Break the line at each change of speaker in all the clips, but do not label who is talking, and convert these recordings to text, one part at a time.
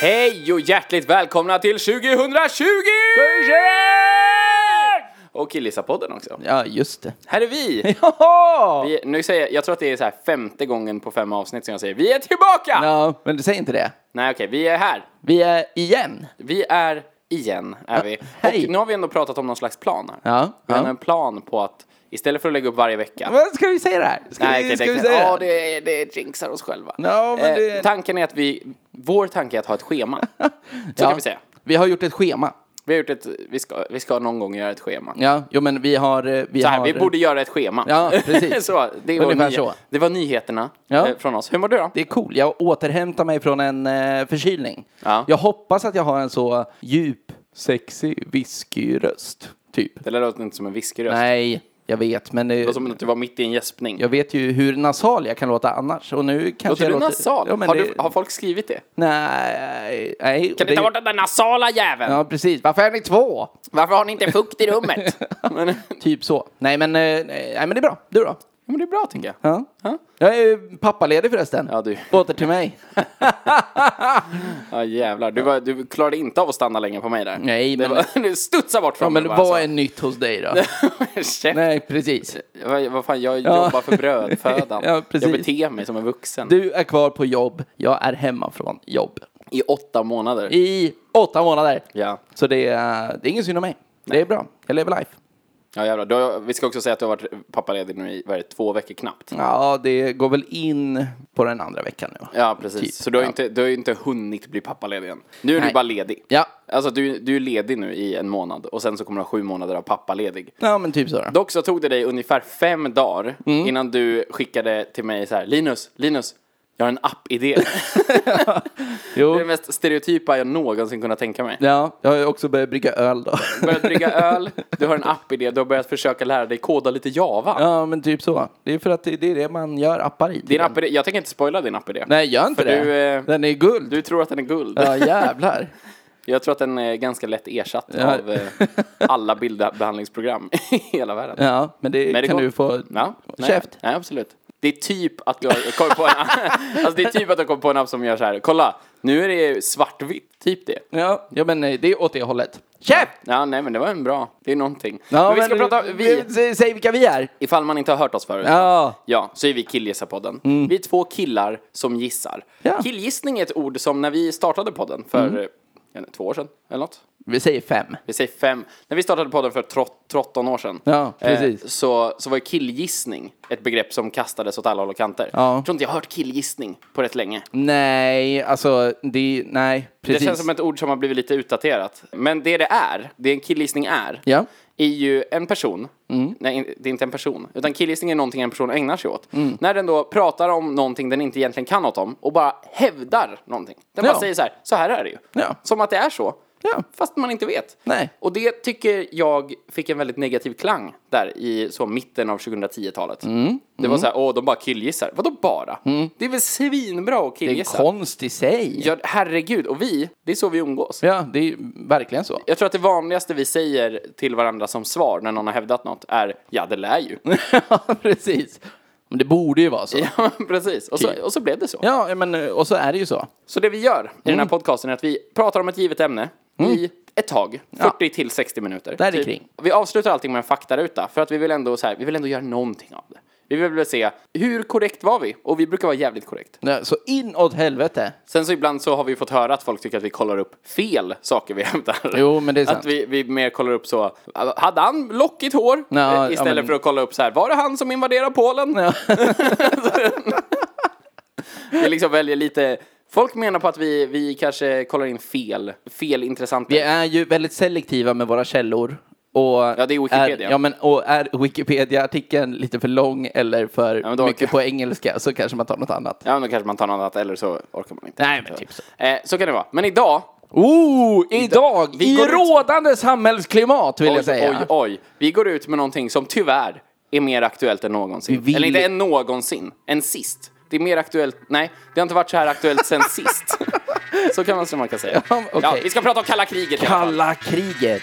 Hej och hjärtligt välkomna till 2020! Och Killisa-podden också.
Ja, just det.
Här är vi!
Jaha!
vi nu säger jag, jag tror att det är så här femte gången på fem avsnitt som jag säger vi är tillbaka!
Ja, men du säger inte det.
Nej okej, vi är här.
Vi är igen.
Vi är igen, är vi.
hej.
Och nu har vi ändå pratat om någon slags plan här.
Ja,
Vi har
ja.
en plan på att istället för att lägga upp varje vecka
Vad ska vi säga det här? Ska
Nej,
vi,
okej,
ska
det,
vi
är-
säga
ja, det, är- det jinxar oss själva. Eh,
Ja, men det-
Tanken är att vi, vår tanke är att ha ett schema. Så
Ja.
kan vi säga.
Vi har gjort ett schema.
Vi har gjort ett, vi ska, vi ska någon gång göra ett schema.
Ja, jo men vi har... eh, Vi
Så här,
har,
vi borde göra ett schema.
Ja, precis.
så, det, var
Ungefär
nyhe-
så.
det var nyheterna
Ja.
eh, från oss. Hur mår du då?
Det är cool. Jag återhämtar mig från en eh, förkylning.
Ja.
Jag hoppas att jag har en så djup, sexig, whiskyröst. Typ.
Det låter inte som en viskeröst. Det
Nej, jag vet, men... eh,
var som att du var mitt i en gäspning.
Jag vet ju hur nasal jag kan låta annars. Och nu kanske
Låter
jag
du nasal?
Ja, men
har,
det...
du, har folk skrivit det?
Nej, nej.
Kan ni ta bort den där nasala jäveln?
Ja, precis. Varför är ni två?
Varför har ni inte fukt i rummet? men, ja,
Typ så. Nej, men, eh, nej, men det är bra. Du då?
men det är bra tycker jag.
Ja. Jag är ju pappaledig förresten.
Ja, du.
Åter till mig.
Ja jävlar, du, var, du klarade inte av att stanna länge på mig där.
Nej,
det
men-
var, du studsade bort från
Ja, men
mig
vad
bara,
är nytt hos dig då?
alltså. Käft.
nej, precis.
Vad, vad fan, jag jobbar för brödfödan.
Ja, precis.
jag beter mig som en vuxen.
Du är kvar på jobb. Jag är hemma från jobb.
I åtta månader.
I åtta månader.
Ja.
Så det är, det är ingen synd om mig. Det är bra. Jag lever life.
Ja jävlar, du har, vi ska också säga att du har varit pappaledig nu i vad är det, två veckor knappt.
Ja, det går väl in på den andra veckan nu.
Ja precis,
Typ,
så du har,
ja.
inte, du har ju inte hunnit bli pappaledig än. Nu är
Nej.
du bara ledig.
Ja.
Alltså du, du är ledig nu i en månad och sen så kommer du ha sju månader av pappaledig.
Ja, men typ så. Då.
Dock så tog det dig ungefär fem dagar
Mm.
innan du skickade till mig så här, Linus, Linus, jag har en app-idé. det är det
Jo.
mest stereotypa jag någonsin kunnat tänka mig.
Ja, jag har ju också börjat brygga öl då.
Börjat brygga öl, du har en app-idé, du har börjat försöka lära dig koda lite Java.
Ja, men typ så. Det är för att det, det är det man gör appar i.
Din app-idé, jag tänker inte spoila din app-idé.
Nej, gör inte
För
det.
du, eh,
Den är guld.
Du tror att den är guld.
Ja, jävlar.
Jag tror att den är ganska lätt ersatt
Ja.
av eh, alla bildbehandlingsprogram i hela världen.
Ja, men det
Men det
kan
går-
du få...
Ja, nej,
Käft.
Nej, absolut. Det är typ att du har kommit på en alltså det är typ att du har kommit på en app som gör så här. Kolla, nu är det svartvitt. Typ det.
Ja, ja, men eh, det är åt det hållet. Käft!
Ja, nej men det var en bra. Det är någonting.
Ja,
men vi ska prata, vi,
Säg, säg vilka vi är.
ifall man inte har hört oss förut.
Ja. Mm.
Ja, så är vi Killgissarpodden. Vi är två killar som gissar.
Ja. Mm.
Killgissning är ett ord som när vi startade podden för eh, jag vet inte, två år sedan eller något.
Vi säger fem.
Vi säger fem. När vi startade podden för trott- 13 år sedan.
Ja, precis.
Eh, så, så var ju killgissning ett begrepp som kastades åt alla håll och kanter.
Ja.
Jag tror inte jag har hört killgissning på rätt länge.
Nej, alltså, det... Nej, precis.
Det känns som ett ord som har blivit lite utdaterat. Men det det är, det en killgissning är,
Ja. Mm.
är ju en person. Nej, in- det är inte en person. Utan killgissning är någonting en person ägnar sig åt.
Mm.
När den då pratar om någonting den inte egentligen kan något om och bara hävdar någonting. Den
Ja.
bara säger så här, så här är det ju.
Ja.
Som att det är så.
Ja.
Fast man inte vet.
Nej.
Och det tycker jag fick en väldigt negativ klang där i så mitten av 2010-talet.
Mm.
Det var så här, åh, de bara killgissar. Vadå bara? Det är väl svinbra att
Det är
killgissa?
konst i sig.
Ja, herregud. Och vi, det är så vi umgås.
Ja, det är verkligen så.
Jag tror att det vanligaste vi säger till varandra som svar när någon har hävdat något är ja, det lär ju.
Ja, precis. Men det borde ju vara så.
ja, precis. Och så, och så blev det så.
Ja, men eh, och så är det ju så.
Så det vi gör i den
Mm.
här podcasten är att vi pratar om ett givet ämne i ett tag, 40 till 60 minuter.
Där i
Typ.
kring.
Vi avslutar allting med en faktaruta för att vi vill ändå så här, vi vill ändå göra någonting av det. Vi vill väl se, hur korrekt var vi? Och vi brukar vara jävligt korrekt.
Nej, Så inåt helvete.
Sen så ibland så har vi fått höra att folk tycker att vi kollar upp fel saker vi hämtar.
Jo, men det är sant.
Att vi, vi mer kollar upp så, alltså, hade han lockigt hår?
Ja,
Eh,
ja,
Istället
men-
för att kolla upp så här, var det han som invaderade Polen?
Ja.
vi liksom väljer lite, folk menar på att vi, vi kanske kollar in fel, fel intressanta.
Vi är ju väldigt selektiva med våra källor. Och
Ja, det är Wikipedia.
Är, ja, men, och är Wikipedia-artikeln lite för lång eller för
men då-
mycket på engelska så kanske man tar något annat.
Ja, men då kanske man tar något annat eller så orkar man inte.
Nej, men typ så.
Eh, så kan det vara. Men idag,
Oh, idag!
vi
I
går ut-
rådande samhällsklimat vill
oj,
jag säga.
oj, oj, vi går ut med någonting som tyvärr är mer aktuellt än någonsin.
Vi vill-
Eller inte än någonsin, än sist. Det är mer aktuellt, nej, det har inte varit så här aktuellt sen sist. Så kan man, så man kan säga.
Ja, okej.
ja, vi ska prata om kalla kriget i alla fall.
Kalla kriget.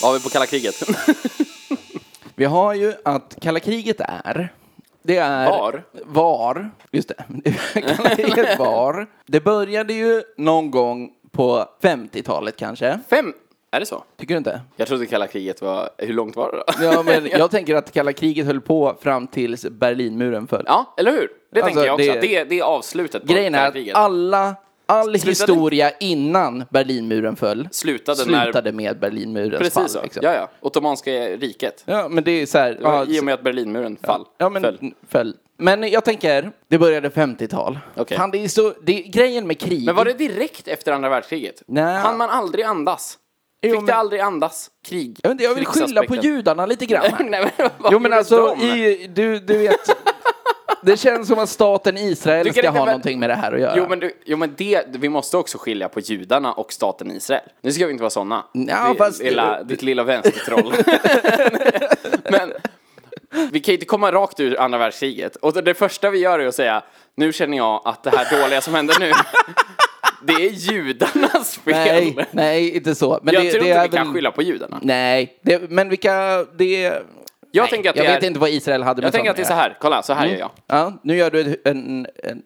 Vad har vi på kalla kriget?
Vi har ju att kalla kriget är... Det är...
Var.
Var. Just det. Kalla kriget var. Det började ju någon gång på 50-talet kanske.
Fem, är det så?
Tycker du inte?
Jag trodde kalla kriget var, hur långt var det då?
Ja, men jag tänker att kalla kriget höll på fram tills Berlinmuren föll.
Ja, eller hur? Det
Alltså,
tänker jag också.
det-
Det, det, är avslutet på
Grejen
kalla
är att
kriget.
alla, all
Slutade-
historia innan Berlinmuren föll
Slutade när-
slutade med Berlinmurens fall.
Precis så.
liksom.
Ja, ja. Ottomanska riket.
Ja, men det är så här... ja,
I och med att Berlinmuren fall.
Ja, men,
föll.
föll. men jag tänker, det började 50-tal.
Okej.
Fan, det är så, det är grejen med krig.
Men var det direkt efter andra världskriget?
Nej.
Hann man aldrig andas? Fick
Jo, men-
det aldrig andas? Krig?
jag, vet inte, jag vill skylla på
Krigsaspekten.
judarna lite grann. här.
Nej, men vad
jo, men
gjorde
alltså,
de?
i, du, du vet. det känns som att staten Israel
Du kan
ska
inte
ha
väl-
någonting med det här att göra.
Jo men, du, jo men det, vi måste också skilja på judarna och staten Israel. Nu ska vi inte vara sådana.
Nja, fast-
lilla, ditt lilla vänstertroll. men vi kan ju inte komma rakt ur andra världskriget. Och det första vi gör är att säga, nu känner jag att det här dåliga som händer nu, det är judarnas fel.
nej, nej, inte så. Men
jag
det,
tror
det
inte
är
vi kan
väl-
skylla på judarna.
Nej, det, men vilka... Det, jag
Jag tänker att
jag
det
vet
är,
inte vad Mm. Israel hade med
jag tänker att det är så
sådana
här, kolla, så här gör jag.
att göra. Ja, nu gör du ett- en... en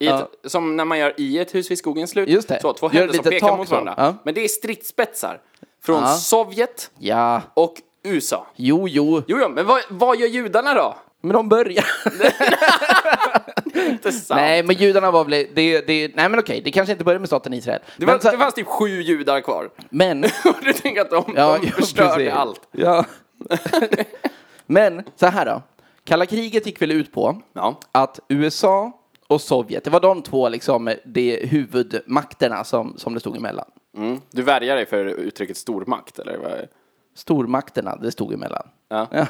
I ett, Som när man gör i ett hus vid skogens slut.
Just det.
Så, två
Gör
händer som
lite
pekar
tak
mot
så.
varandra.
Ja.
Men det är stridsspetsar från
Ja.
Sovjet
ja,
och USA.
jo, jo.
Jo, jo men vad, vad gör judarna då?
Men de börjar...
Inte sant.
Nej, men judarna var väl... Det, det, nej, men okej, det kanske inte började med staten Israel.
Det, var,
men, så-
det fanns typ sju judar kvar.
men,
Och du tänker att de,
ja,
de
ja,
förstörde
precis.
allt.
Ja. men så här då. Kalla kriget gick väl ut på
Ja.
att USA och Sovjet, det var de två liksom, det huvudmakterna som, som det stod emellan.
Mm. Du värjar dig för uttrycket stormakt, eller? vad?
Stormakterna det stod emellan.
Ja.
Ja.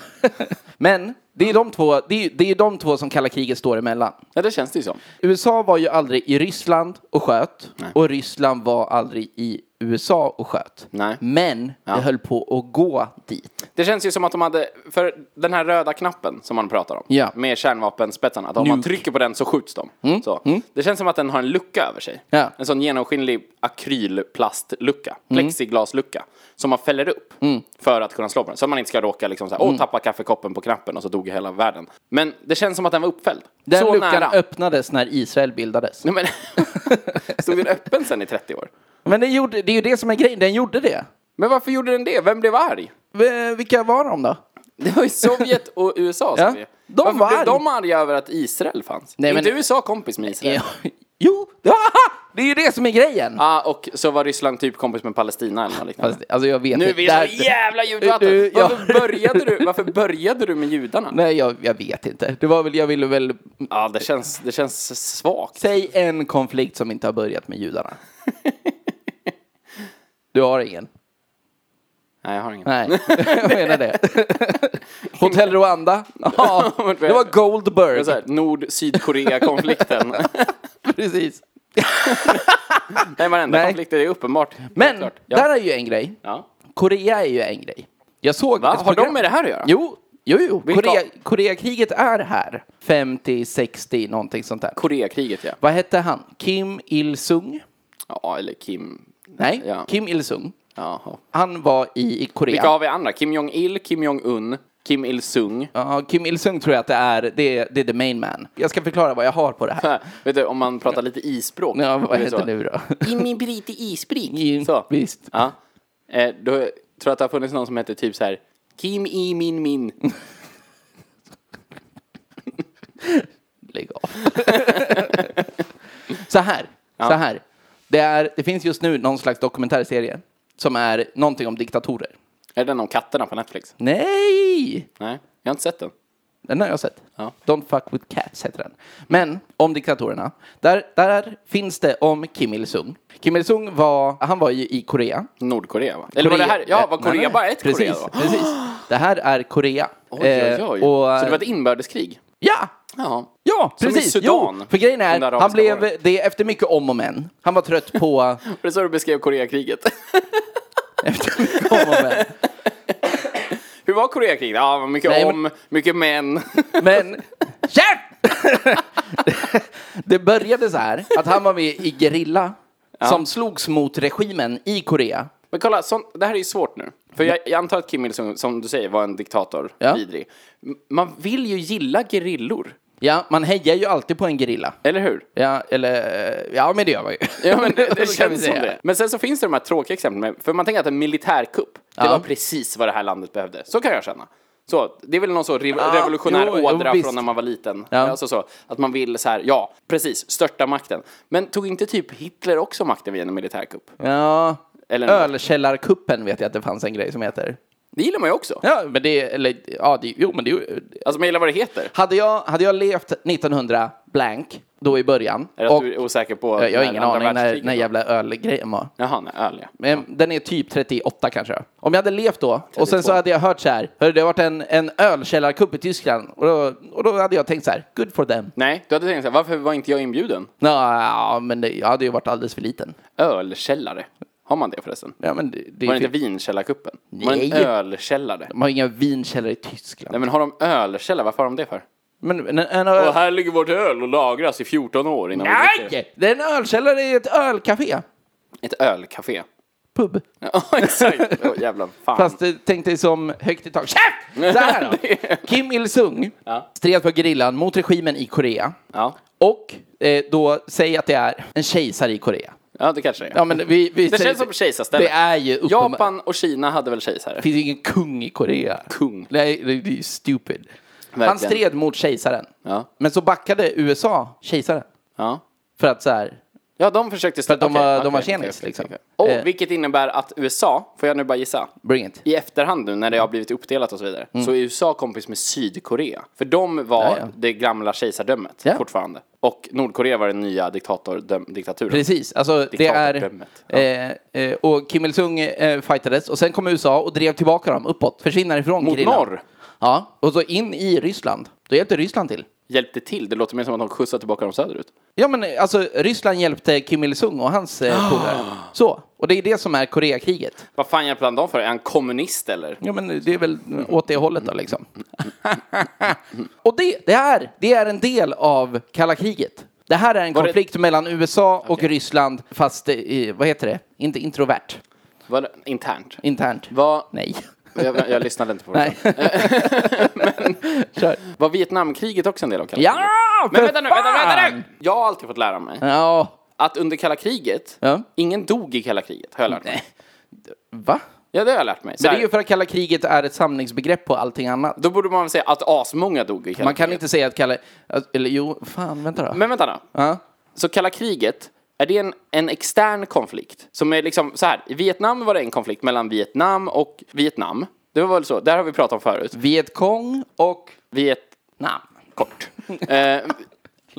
men det är, de två, det, är, det är de två som kalla kriget står emellan.
ja, det känns det ju som.
USA var ju aldrig i Ryssland och sköt och Ryssland var aldrig i USA och sköt.
Nej.
Men det höll på att gå dit.
Det känns ju som att de hade, för den här röda knappen som man pratar om,
Ja. Mm,
med kärnvapenspetsarna, att om man trycker på den så skjuts de. Så. Det känns som att den har en lucka över sig.
Ja. Mm.
En sån genomskinlig akrylplastlucka, plexiglaslucka, som man fäller upp för att kunna slå på den. Så att man inte ska råka liksom så här,
Mm.
åh, tappa kaffekoppen på knappen och så dog hela världen. Men det känns som att den var uppfälld.
Den
så
luckan
nära.
öppnades när Israel bildades.
Nej, men, stod den öppen sen i 30 år?
Men den gjorde, det är ju det som är grejen, den gjorde det.
Men varför gjorde den det? Vem blev arg?
V- Vilka var de då?
Det var ju Sovjet och USA som
Ja.
vi.
De
Varför
var
blev
arg.
de arga över att Israel fanns?
Nej,
Nej,
men-
men... Inte USA kompis med Israel?
Ja. Jo, Aha! det är ju det som är grejen.
Ah, och så var Ryssland typ kompis med Palestina eller något liknande.
Fast, Alltså jag vet
Nu är
inte.
vi
Där-
så jävla djupvatten!
Du, ja.
Varför, började du, varför började du med judarna?
Nej, jag, jag vet inte. Det var väl, jag ville väl...
Ja, det känns, det känns svagt.
Säg en konflikt som inte har börjat med judarna. Du har ingen?
Nej, jag har ingen.
Nej, jag menar det. Hotell Rwanda? Ja, det var
Det är så
Goldberg.
här, Nord-Sydkorea-konflikten.
Precis.
Nej, varenda
Nej.
konflikt är uppenbart.
Men
Helt klart. ja.
där är ju en grej.
Ja.
Korea är ju en grej. Jag såg
Va?
ett
Har de
program-
med det här att göra?
Jo, jo, jo.
Vilka-
Korea, Koreakriget är här. 50, 60, någonting sånt där.
Koreakriget, ja.
Vad hette han? Kim Il-Sung?
Ja, eller Kim.
Nej,
Ja.
Kim Il-Sung.
Jaha.
Han var i i Korea.
Vilka har vi andra? Kim Jong-Il, Kim Jong-Un, Kim Il-Sung.
Ja, Kim Il-Sung tror jag att det är, det, är- det är the main man. Jag ska förklara vad jag har på det här.
Här, Vet du, om man pratar lite isspråk.
Ja,
det
vad
är
heter
så.
det nu då?
Jimmy Brite Isbrig.
Jim-
Så.
Visst.
Ja. Eh, då tror jag att det har funnits någon som heter typ så här Kim i min min.
Lägg av. så här. Så här. Det, är, det finns just nu någon slags dokumentärserie som är någonting om diktatorer.
Är den om katterna på Netflix?
Nej!
Nej, jag har inte sett den.
Den har jag sett.
Ja.
Don't fuck with cats heter den. Men om diktatorerna. Där, där finns det om Kim Il-Sung. Kim Il-Sung var, han var ju i Korea.
Nordkorea va? Eller var det här? Ja, var
Nej,
Korea
Eh, nej.
bara ett
precis,
Korea då?
Precis. Det här är Korea.
Oj, oj,
Eh,
oj.
och-
Så det var ett inbördeskrig?
Ja!
Ja.
Ja,
Som i
precis.
Sudan.
Jo, för grejen
Under
är,
arabiska
han blev
våren.
det efter mycket om och men. Han var trött på
Det är så du beskrev Koreakriget.
efter mycket om och men.
Hur var Koreakriget? Ja, vad mycket
Nej,
om, mycket män.
Men... Käft! det började så här, att han var med i gerilla som slogs mot regimen i Korea.
Men kolla, sånt, det här är ju svårt nu. För jag, jag antar att Kim Il-Sung, som du säger, var en diktator.
Ja.
Vidrig. M- Man vill ju gilla gerillor.
Ja, man hejar ju alltid på en gerilla.
Eller hur?
Ja, eller... Ja, men det gör man ju.
Ja, men det, det
Så kan vi
känns som
säga.
det. Men sen så finns det de här tråkiga exemplen. Med, för man tänker att en militärkupp, det
Ja.
var precis vad det här landet behövde. Så kan jag känna. Så, det är väl någon så rev-
Ja,
revolutionär
jo, jo,
ådra
visst.
från när man var liten.
Ja.
Alltså så, att man vill så här, ja, precis, störta makten. Men tog inte typ Hitler också makten via en militärkupp?
Ja.
Eller något.
Ölkällarkuppen vet jag att det fanns en grej som heter.
Det gillar man ju också.
Ja, men det... Eller, ja, det, jo, men det,
Alltså man gillar vad det heter.
Hade jag, hade jag levt 1900 blank då i början.
Är det att
och, eh,
du är osäker på
jag, jag har
när
ingen
andra
aning när,
världskriget
när
var?
jävla ölgrejen var.
Jaha, nej, öl, ja.
Men Den är typ 38 kanske. Om jag hade levt då och sen så
32.
hade jag hört så här. Hörru, det har varit en, en ölkällarkupp i Tyskland. Och då, och då hade jag tänkt så här. Good for them.
Nej, du hade tänkt så här, varför var inte jag inbjuden?
Nå, Ja, men det, jag hade ju varit alldeles för liten.
Ölkällare. Har man det förresten?
Ja, men det, det,
Var det
är
inte
typ,
vinkällarkuppen? Var det en
Nej.
ölkällare?
de har inga vinkällare i Tyskland.
Nej men har de ölkällare? Varför har de det för?
Men, men en, en öl...
här ligger vårt öl och lagras i 14 år innan
Nej! Det är en ölkällare i ett ölcafé.
Ett ölcafé.
Pub.
Ja, exakt. Åh jävlar, fan.
Fast eh, tänk dig som högt i tak. Käft! Så här då. Kim Il-Sung
Ja.
stred på grillan mot regimen i Korea.
Ja.
Och eh, då, säg att det är en kejsare i Korea.
ja, det kanske det är.
Ja, men vi, vi,
det
säger-
känns som kejsarställe.
Det är ju uppenbart.
Japan och Kina hade väl kejsare?
Det finns ju ingen kung i Korea.
Kung.
Nej, det, det är ju stupid. Han
Verkligen.
stred mot kejsaren.
Ja.
Men så backade USA kejsaren.
Ja.
För att så här,
Ja, de försökte...
För att de
okej,
var- de
okej,
var
okej,
tjenis,
okej,
liksom.
okej. Och,
Eh.
vilket innebär att USA, får jag nu bara gissa,
bring it.
i efterhand nu när det har blivit uppdelat och så vidare, så är USA kompis med Sydkorea. För de var
Mm. Ja, ja.
det gamla kejsardömet
Ja.
fortfarande. Och Nordkorea var den nya diktatordöm- diktaturen.
Precis, alltså det är...
Diktatordömet.
Eh, eh, och Kim Il-Sung eh, fightades och sen kom USA och drev tillbaka dem uppåt, försvinner ifrån
Mot
gerillan.
norr.
Ja, och så in i Ryssland. Då hjälpte Ryssland till.
Hjälpte till? Det låter mer som att de skjutsade tillbaka dem söderut.
Ja, men eh, alltså Ryssland hjälpte Kim Il-Sung och hans eh, polare. Så, och det är det som är Koreakriget.
Vad fan hjälpte han dem för? Är han kommunist eller?
Ja, men det är väl åt det hållet då liksom. och det, det här, det är en del av kalla kriget. Det här är en
Var det-
konflikt mellan USA och Ryssland, fast, eh, vad heter det? Inte introvert,
Var det internt?
internt.
Vad...
Nej.
Jag, jag lyssnade inte på det.
Nej. Kör.
Var Vietnamkriget också en del av kalla
Ja,
kriget? Men
för
vänta nu, vänta, vänta
fan!
nu! Jag har alltid fått lära mig
Ja,
att under kalla kriget,
Ja.
ingen dog i kalla kriget, har jag lärt mig.
va?
Ja, det har jag lärt mig.
Men
Så
det
här,
är ju för att kalla kriget är ett samlingsbegrepp på allting annat.
Då borde man väl säga att asmånga dog i kalla
Man kan
kriget.
inte säga att kalla... Eller jo, fan, vänta då.
Men vänta nu.
Ja.
Så kalla kriget, är det en, en extern konflikt? Som är liksom så här, i Vietnam var det en konflikt mellan Vietnam och Vietnam. Det var väl så, där har vi pratat om förut.
Vietkong och...
Viet...
Nam.
kort. Eh,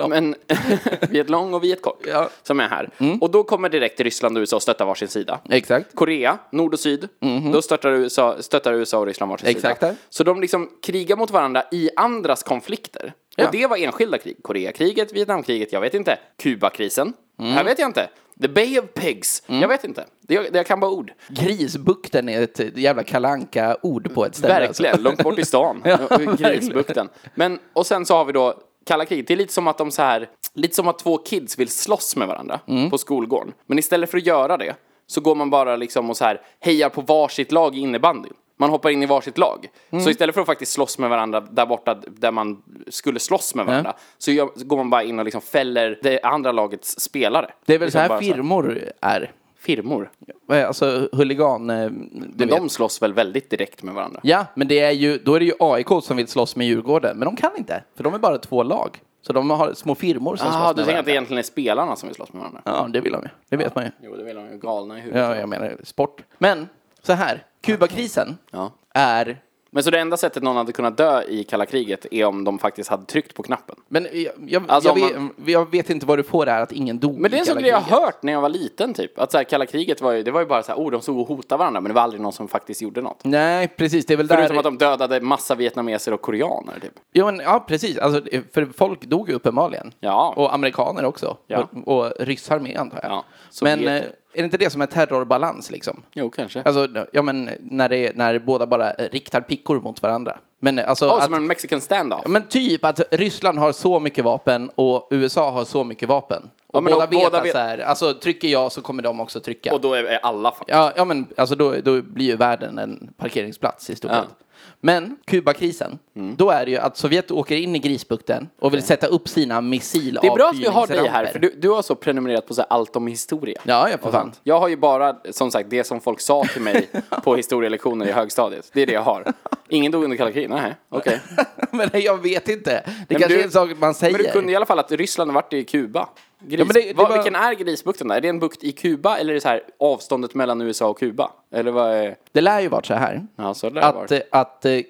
men Viet Long och Viet Kort
Ja. Mm.
som är här. Och då kommer direkt Ryssland och USA och stöttar varsin sida.
Exakt.
Korea, nord och syd, då stöttar USA, stöttar USA och Ryssland varsin
Mhm. Exakt.
sida. Så de liksom krigar mot varandra i andras konflikter.
Ja.
Och det var enskilda krig. Koreakriget, Vietnamkriget, jag vet inte. Kubakrisen,
Mm.
här vet jag inte. The Bay of Pigs, jag vet inte. Det, det jag kan bara ord.
Grisbukten är ett jävla kalanka ord på ett ställe.
Verkligen,
Alltså.
långt bort i stan.
Ja,
Grisbukten. Men, och sen så har vi då kalla kriget. Det är lite som att de så här, lite som att två kids vill slåss med varandra
Mm.
på skolgården. Men istället för att göra det så går man bara liksom och så här hejar på varsitt lag i innebandy. Man hoppar in i varsitt lag. Så
Mm.
istället för att faktiskt slåss med varandra där borta där man skulle slåss med varandra så, gör, så går man bara in och liksom fäller det andra lagets spelare.
Det är väl
liksom
så här
bara
firmor är.
firmor.
Alltså huligan... eh, Du
Men
vet.
de slåss väl väldigt direkt med varandra?
Ja, men det är ju, då är det ju AIK som vill slåss med Djurgården. Men de kan inte, för de är bara två lag. Så de har små firmor som
Jaha,
slåss med
du tänker att det
varandra.
egentligen är spelarna som vill slåss med varandra?
Ja, det vill de ju. Det vet man ju.
Jo, det vill de ju. Galna i huvudet.
Ja, jag menar sport. Men så här, Kubakrisen
Ja.
är...
Men så det enda sättet någon hade kunnat dö i kalla kriget är om de faktiskt hade tryckt på knappen.
Men jag, jag,
Alltså,
jag,
om
vet, jag vet inte vad du får där att ingen dog
Men det är
i
en sån
kalla
grej jag
kriget.
har hört när jag var liten typ. Att så här, kalla kriget var ju, det var ju bara så här, oh de stod och hotade varandra men det var aldrig någon som faktiskt gjorde något.
Nej, precis. Det är väl
Förutom
där...
att de dödade massa vietnameser och koreaner typ.
Jo, men, ja, precis. Alltså, för folk dog ju uppenbarligen.
Ja.
Och amerikaner också.
Ja.
Och, och ryssar med, antar jag.
Ja, Sovjet.
men eh, är det inte det som är terrorbalans, liksom?
Jo kanske.
Alltså, ja, men när, det, är- när båda bara eh, riktar pickor mot varandra. Men eh, alltså...
Ja,
att,
som en mexican standoff.
ja, men typ att Ryssland har så mycket vapen och USA har så mycket vapen. Och
men
båda
och
vet
båda
att
vet-
så här, alltså trycker jag så kommer de också trycka.
Och då är- är alla fan.
Ja, ja men alltså då, då blir ju världen en parkeringsplats i stort
Ja. Mm.
sett. Men Kubakrisen, då är det ju att Sovjet åker in i Grisbukten och vill sätta upp sina missilavfyrningsramper.
Det är bra att vi har dig här för du, du har så prenumererat på så här, allt om historia.
Ja, ja, för fan.
Jag har ju bara, som sagt, det som folk sa till mig på historielektioner i högstadiet. Det är det jag har. Ingen dog under kalla kriget, nej, okej.
men jag vet inte. Det
Men
kanske
du-
är en sak man säger.
Men du kunde i alla fall att Ryssland vart i Kuba. Gris.
Ja, men det- det
Vad-
var-
Vilken är Grisbukten där? Är det en bukt i Kuba eller är det så här avståndet mellan USA och Kuba? Eller vad är...
Det lär ju varit så här.
Ja, så lär det
Att,
varit.
eh, att eh, eh,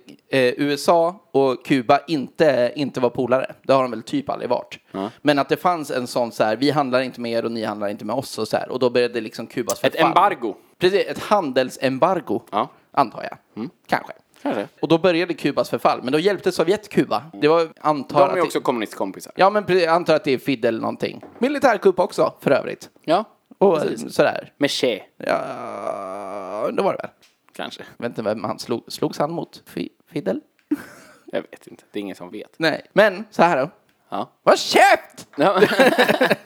USA och Kuba inte, inte var polare. Det har de väl typ aldrig varit. Men att det fanns en sån så här, vi handlar inte med er och ni handlar inte med oss och så här. Och då började liksom Kubas
Ett
förfall.
embargo.
Precis, ett handelsembargo.
Ja.
Antar jag. Kanske.
Kanske.
Och då började Kubas förfall. Men då hjälpte Sovjet Kuba. Det var antar
De
att
är
det-
också kommunistkompisar.
Ja, men pre- jag antar att det är Fidel någonting. Militärkupp också, för övrigt.
Ja.
Och eh, sådär.
Med Che,
Ja, det var det väl.
kanske.
Jag vet inte vem han slog, slogs han mot? Fi, Fidel?
Jag vet inte. Det är ingen som vet.
Nej, men så här då.
Ja.
Vad käft!
Ja.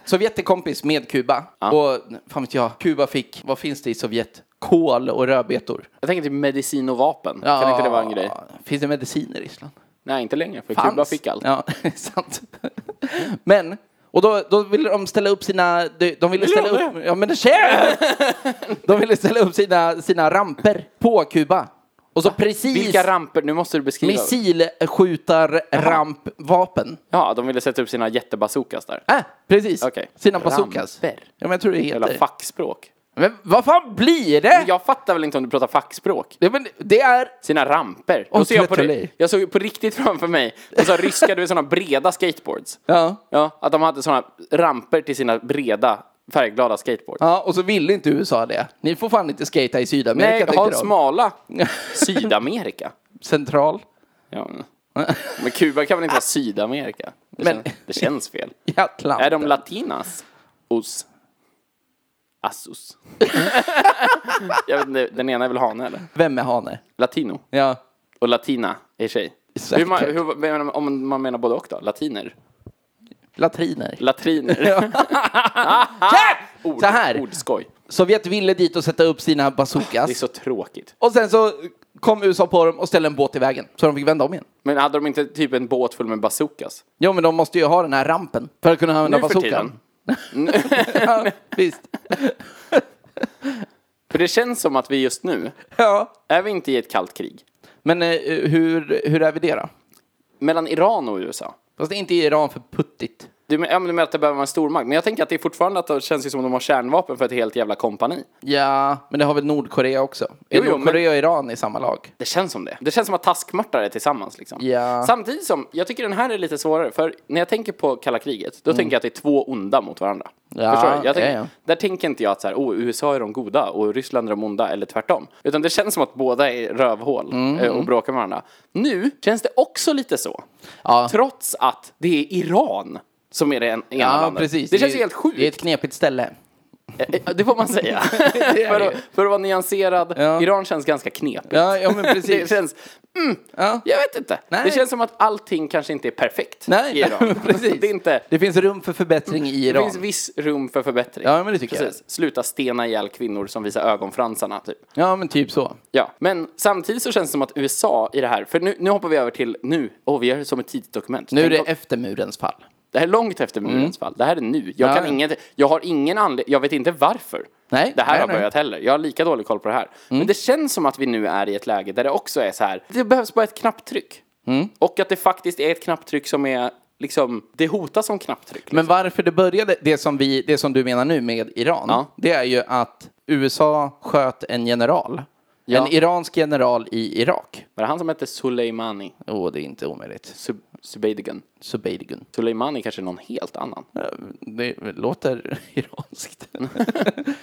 Sovjet är kompis med Kuba. Och fan vet jag, Kuba fick, vad finns det i Sovjet? Kol och rödbetor.
Jag tänker typ medicin och vapen. Kan inte det vara en grej?
Finns det medicin i Ryssland?
Nej, inte längre. För
Fanns.
Kuba fick allt.
Ja, sant. Men, och då, då ville de ställa upp sina... De, de ville
Vill de
ställa upp... Ja, men det sker! De ville ställa upp sina, sina ramper på Kuba. Och så precis...
Ah, Vilka ramper? Nu måste du beskriva.
Missilskjutarrampvapen.
Ja, de ville sätta upp sina jättebazookas där.
Äh, precis.
Okej.
Sina bazookas. Ja,
Ramper.
men jag tror det
Jävla
heter...
fackspråk.
Men vad fan blir det?
Jag fattar väl inte om du pratar fackspråk?
Det, men, det är...
Sina ramper.
Och
Då ser jag, på,
Trötteli.
ri- jag såg ju på riktigt framför mig, och så ryska, du vet sådana breda skateboards.
Ja.
Ja, att de hade sådana ramper till sina breda färgglada skateboards.
Ja, och så ville inte USA det. Ni får fan inte skata i Sydamerika,
Nej,
tänkte
ha
de.
smala Sydamerika.
Central.
Ja. Men Kuba kan väl inte vara Sydamerika? Det,
Men-
känns, det känns fel.
I Atlanten.
Är de latinas? Os. Assos. jag vet inte, den ena är väl hane eller?
Vem är hane?
Latino.
Ja.
Och latina är tjej.
Säkert.
Hur man, hur, men om man menar både och då? Latiner?
Latriner.
Latriner? Ord,
så här.
Ordskoj.
Sovjet ville dit och sätta upp sina
Det är
bazookas.
så tråkigt.
Och sen så kom USA på dem och ställde en båt i vägen. Så de fick vända om igen.
Men hade de inte typ en båt full med bazookas?
Jo, men de måste ju ha den här rampen för att kunna använda
Nu för
bazookan.
tiden.
ja, visst.
För det känns som att vi just nu,
Ja.
är vi inte i ett kallt krig?
Men eh, hur, hur är vi det då?
Mellan Iran och USA?
Fast det är inte i Iran för puttigt.
Du, men- ja, men du menar att det behöver vara en stormakt? Men jag tänker att det är fortfarande att det känns ju som att de har kärnvapen för ett helt jävla kompani.
Ja, men det har väl Nordkorea också? Är
Jo, jo,
Nordkorea och Iran i samma lag?
Det känns som det. Det känns som att taskmördare är tillsammans liksom.
Ja.
Samtidigt som, jag tycker den här är lite svårare, för när jag tänker på kalla kriget, då tänker jag att det är två onda mot varandra.
Mm. Ja,
Förstår du? Jag tänker,
ja, ja.
Där tänker inte jag att så här, oh, USA är de goda och Ryssland är de onda, eller tvärtom. Utan det känns som att båda är rövhål
Mm,
eh, och bråkar med varandra. Nu känns det också lite så.
Ja.
Trots att det är Iran som är det en, ena
Ja,
landet.
precis.
Det känns ju
är-
helt sjukt.
Det är ett knepigt ställe.
Eh, Det får man säga.
Det är
för,
det
att,
ju.
för att vara nyanserad,
Ja.
Iran känns ganska knepigt.
Ja, ja men
Det
precis.
känns, mm,
Ja.
jag vet inte.
Nej.
Det känns som att allting kanske inte är perfekt
Nej,
i Iran.
precis.
Det, är inte,
Det finns rum för förbättring i
det
Iran.
finns viss rum för förbättring.
Ja, men det tycker
precis. Sluta stena ihjäl kvinnor som visar ögonfransarna, typ.
Ja, men typ så.
Ja, men samtidigt så känns det som att USA i det här, för nu, nu hoppar vi över till nu, åh vi gör det som ett tidigt dokument.
Nu är
Tänk
det
om-
efter murens fall.
det här är långt efter murens fall. Det här är nu. Jag,
Mm. Ja,
kan
ja.
inget, jag har ingen anledning, jag vet inte varför
Nej,
det här
nej,
har
nej. Mm.
börjat heller. Jag har lika dålig koll på det här. Men det känns som att vi nu är i ett läge där det också är så här, det behövs bara ett knapptryck.
Mm.
Och att det faktiskt är ett knapptryck som är, liksom, det hotas som knapptryck.
Men varför det började, det som, vi, det som du menar nu med Iran,
Ja.
det är ju att USA sköt en general
Ja.
En iransk general i Irak.
Var det han som hette Soleimani?
Åh, det är inte omöjligt.
Sub Subeidigan?
Subeidigun.
Soleimani kanske är någon helt annan.
Eh, Det låter iranskt.
Nej,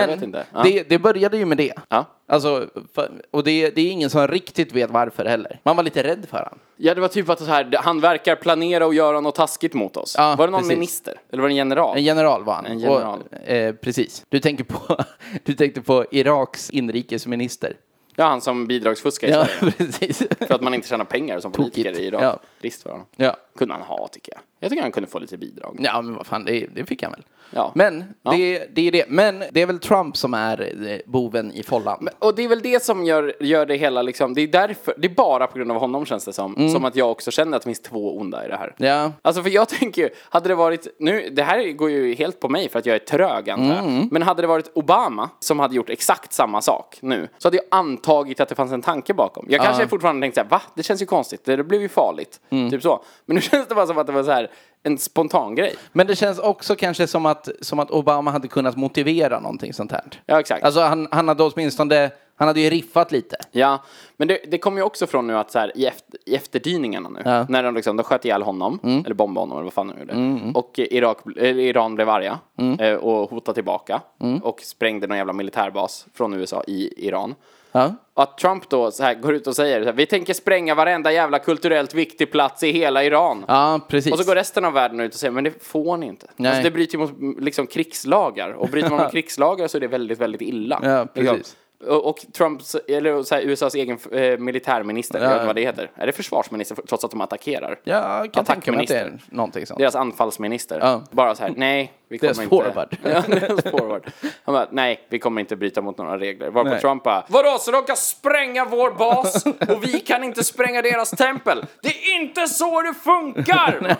jag
Men
vet inte. Ja.
det, det började ju med det.
Ja.
Alltså, för, och det, det är ingen som riktigt vet varför heller. Man var lite rädd för han.
ja, det var typ att så här, han verkar planera och göra något taskigt mot oss.
Ja,
var det någon
precis.
minister? Eller var det en general?
En general var han.
En general.
Och, eh, precis. Du, tänker på, du tänkte på Iraks inrikesminister.
Ja, han som bidragsfuskar i
Ja,
Sverige.
precis.
För att man inte tjänar pengar som
Tokigt.
politiker i Irak.
Ja.
Trist för honom.
Ja.
Kunde han ha, tycker jag. Jag tycker han kunde få lite bidrag.
Ja, men vad fan, det, det fick han väl.
Ja.
Men
Ja.
Det, det är det. Men det är väl Trump som är eh, boven i follan.
Och det är väl det som gör, gör det hela liksom, det är därför, det är bara på grund av honom känns det som, som att jag också känner att det finns två onda i det här.
Mm. Ja.
Alltså för jag tänker ju, hade det varit, nu, det här går ju helt på mig för att jag är trög antar
Mm.
jag. Men hade det varit Obama som hade gjort exakt samma sak nu, så hade jag antagit att det fanns en tanke bakom. Jag kanske fortfarande tänkte såhär, va? Det känns ju konstigt, det, det blev ju farligt.
Mm.
Typ så. Men nu känns det bara som att det var så här en spontan grej.
Men det känns också kanske som att, som att Obama hade kunnat motivera någonting sånt här.
Ja, exakt.
Alltså han, han hade åtminstone, han hade ju riffat lite.
Ja, men det, det kommer ju också från nu att så här, i, efter, i efterdyningarna nu,
Ja. Mm.
när de, liksom, de sköt ihjäl honom, eller bombade honom eller vad fan de gjorde, och eh, Irak, eller Iran blev arga
Mm.
eh, och hotade tillbaka och sprängde någon jävla militärbas från USA i Iran.
Ja.
Och att Trump då så här, går ut och säger så här, vi tänker spränga varenda jävla kulturellt viktig plats i hela Iran.
Ja, precis.
Och så går resten av världen ut och säger men det får ni inte.
Nej.
Alltså, det bryter ju mot mm, liksom, krigslagar och bryter man mot krigslagar så är det väldigt, väldigt illa. Liksom.
Ja, precis.
Och, och Trumps, eller så här, USAs egen eh, militärminister, jag vet inte vad det heter. Är det försvarsminister för- trots att de attackerar?
Ja, jag kan tänka mig att det är
Attackminister.
någonting sånt.
Deras anfallsminister.
Ja.
Bara så här, nej, vi kommer
Deras
inte...
forward.
Ja, deras forward. Han bara, nej, vi kommer inte bryta mot några regler. Varpå
Nej.
Trump bara, vadå, så de kan spränga vår bas och vi kan inte spränga deras tempel? Det är inte så det funkar!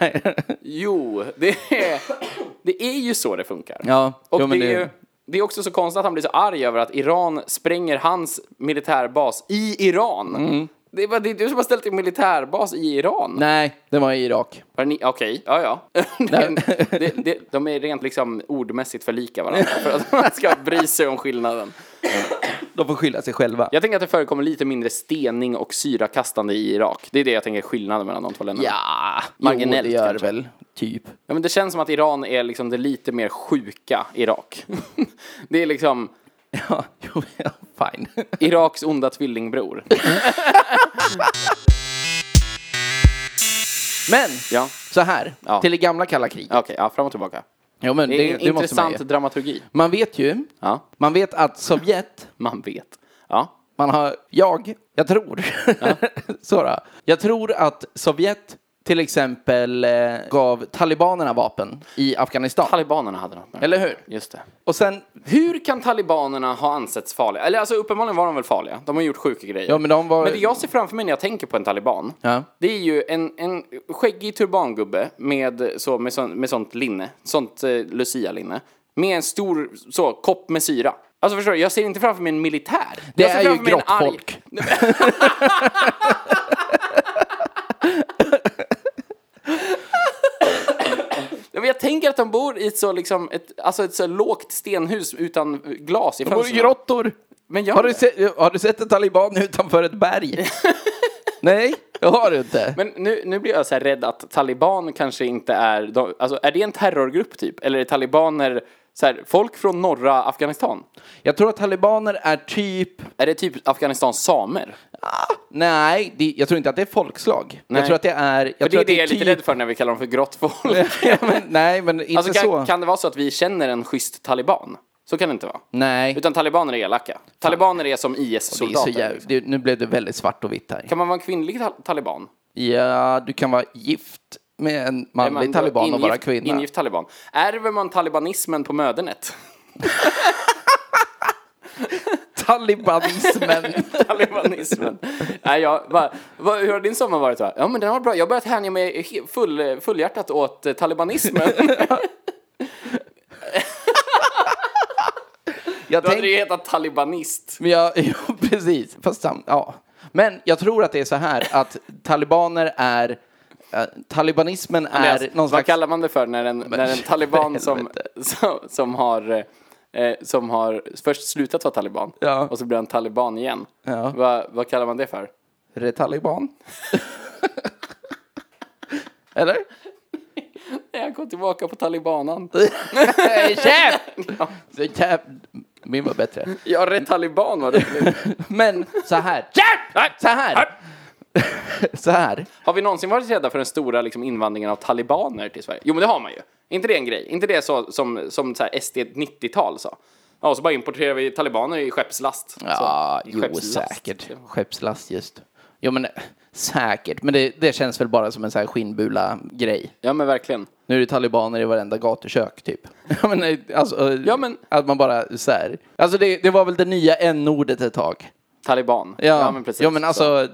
Jo, det är, det är ju så det funkar.
Ja,
och
jo,
det,
men
är
det-
ju, det är också så konstigt att han blir så arg över att Iran spränger hans militärbas i Iran. Det är bara det är du som har ställt en militärbas i Iran.
Mm. Nej, det var i Irak.
Har ni- Okej, ja ja. det, det, det, de är rent liksom ordmässigt för lika varandra för att man ska bry sig om skillnaden.
De får skylla sig själva.
Jag tänker att det förekommer lite mindre stening och syrakastande i Irak. Det är det jag tänker är skillnaden mellan de två länderna.
Ja,
Marginellt
jo, det gör det
kanske.
väl. Typ.
Ja, men det känns som att Iran är liksom det lite mer sjuka Irak. det är liksom
Ja, jo, ja, fine.
Iraks onda tvillingbror.
Men,
Ja,
så här,
Ja.
till det gamla kalla kriget.
okej, ja, fram och tillbaka.
Jo, men
Det
det, det,
är en
måste man
intressant
ju.
dramaturgi.
Man vet ju,
Ja,
man vet att Sovjet,
man vet. Ja,
man har, jag, jag tror, så då. jag tror att Sovjet till exempel eh, gav talibanerna vapen i Afghanistan.
talibanerna hade något med det.
Eller hur?
Just det.
Och sen,
Hur kan talibanerna ha ansetts farliga? Eller alltså uppenbarligen var de väl farliga? De har gjort sjuka grejer.
ja men de var...
Men det jag ser framför mig när jag tänker på en taliban,
Ja.
det är ju en, en skäggig turbangubbe med, så, med, så, med sånt linne, sånt eh, lucia-linne, med en stor så, kopp med syra. Alltså förstår du, jag ser inte framför mig en militär.
Det
jag ser
är ju
framför mig en
grått
arg-
folk.
Ja, men Jag tänker att de bor i ett så, liksom, ett, alltså ett så lågt stenhus utan glas i
De bor i
fönstren.
grottor.
Men gör
Har du,
det.
sett, har du sett en taliban utanför ett berg? Nej, det har du inte.
Men nu, nu blir jag så här rädd att taliban kanske inte är... De, alltså, är det en terrorgrupp typ? Eller är talibaner så här, folk från norra Afghanistan?
Jag tror att talibaner är typ...
Är det typ Afghanistans samer?
Nej, det, jag tror inte att det är folkslag.
Nej.
Jag tror att det är... Jag
För det
tror
är
att
det jag är lite
typ-
rädd för när vi kallar dem för grått folk.
ja, men, nej, men inte
alltså,
så.
kan, kan det vara så att vi känner en schysst taliban? Så kan det inte vara.
nej,
Utan talibaner är elaka. Talibaner är som
det är så
IS-soldater.
jäv... det, nu blev det väldigt svart och vitt här.
liksom. Kan man vara en kvinnlig tal- taliban?
Ja, du kan vara gift med en
Är man
manlig
då
taliban och
ingift-
vara kvinna.
Ingift taliban. Ärver man talibanismen på mödernet?
Talibanismen.
Talibanismen. Nej, jag bara, vad, hur har din sommar varit? Va? Ja, men den har varit bra. Jag har börjat hänga mig he- full, fullhjärtat åt eh, talibanismen.
jag
Då hade
tänk...
det ju hetat talibanist.
Men jag, jo, precis. Fast sam, ja. Men jag tror att det är så här att talibaner är... eh, talibanismen är
Andreas,
någon
Vad
slags...
kallar man det för när en, när en taliban som,
helvete.
som, som har eh, eh, som har först slutat vara taliban
Ja.
och så blir han taliban igen.
Ja.
Va, vad kallar man det för?
Är det taliban? Eller?
Jag går tillbaka på talibanan.
Nej, Chef! Så jäv- Min var bättre.
Ja, rätt taliban var det.
Men så här. Chef! Så här. Så här.
Har vi någonsin varit rädda för den stora liksom, invandringen av talibaner till Sverige? Jo, men det har man ju. inte det en grej? inte det så, som, som så här SD 90-tal sa? Ja, och så bara importerar vi talibaner i skeppslast.
Ja,
så, i
jo,
skeppslast.
säkert. Skeppslast just. Jo, men eh, säkert. Men det, det känns väl bara som en så här skinnbula-grej.
Ja, men verkligen.
Nu är det talibaner i varenda gatukök, typ. Ja, men, eh, alltså, eh,
Ja, men-
Att man bara så här. Alltså, det, det var väl det nya n-ordet ett tag.
Taliban.
Ja,
men precis.
Ja, men
Så.
alltså,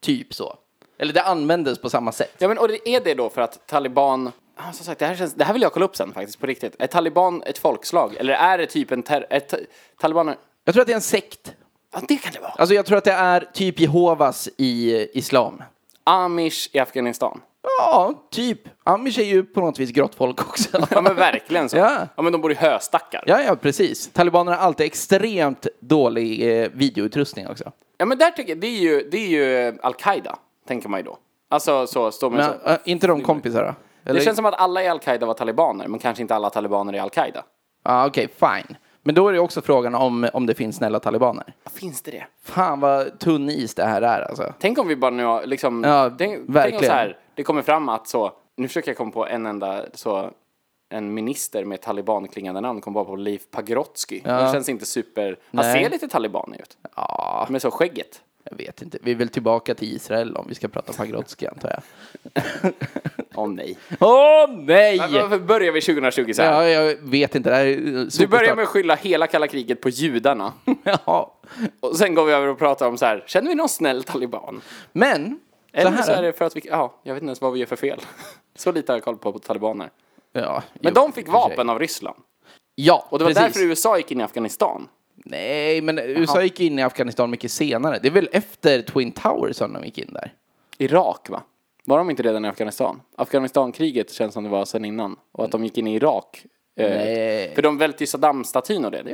typ så. Eller det användes på samma sätt.
Ja, men och det är det då för att taliban... Ah, Som sagt, det här, känns, det här vill jag kolla upp sen faktiskt, på riktigt. Är taliban ett folkslag? Eller är det typ en... Ter, ett, talibaner...
Jag tror att det är en sekt.
Ja, det kan det vara.
Alltså, jag tror att det är typ Jehovas i eh, islam.
Amish i Afghanistan.
Ja, typ. Amish är ju på något vis grått folk också.
Ja, men verkligen så.
Ja.
men de bor i höstackar.
Ja, ja, precis. Talibanerna har alltid extremt dålig eh, videoutrustning också.
Ja men där tycker jag, det är ju, det är ju eh, Al-Qaida, tänker man ju då. Alltså så, står man
Men,
så.
eh, inte de kompisar då? Eller?
Det känns som att alla i Al-Qaida var talibaner, men kanske inte alla talibaner i Al-Qaida.
Ja, okej, fine. Men då är det också frågan om, om det finns snälla talibaner.
Finns det det?
Fan vad tunn is det här är alltså.
Tänk om vi bara nu har liksom,
Ja,
tänk, tänk om
verkligen.
så här, det kommer fram att så, nu försöker jag komma på en enda så, en minister med talibanklingande namn kom bara på Leif Pagrotsky. Han känns inte super, han
Nej.
ser lite talibanig ut. Ja. Med så skägget.
Jag vet inte. Vi vill tillbaka till Israel om vi ska prata Pagrotsky antar jag.
Åh nej.
Åh nej!
Men Varför börjar vi 2020 så här?
Ja, jag vet inte. Det här är eh,
Du börjar med att skylla hela kalla kriget på judarna.
ja.
Och sen går vi över och pratar om så här, känner vi någon snäll taliban?
Men, så
Eller
här.
så är det för att vi, ja, jag vet inte ens vad vi gör för fel. Så lite har jag koll på, på talibaner.
Ja,
Men
jo,
de fick
i och för sig.
vapen av Ryssland.
Ja,
Och det var
precis.
därför USA gick in i Afghanistan.
Nej, men USA gick in i Afghanistan mycket senare. Det är väl efter Twin Towers som de gick in där?
Irak va? Var de inte redan i Afghanistan? Afghanistankriget känns som det var sen innan. Och att de gick in i Irak. eh,
Nej.
För de välte ju Saddam-statyn och det.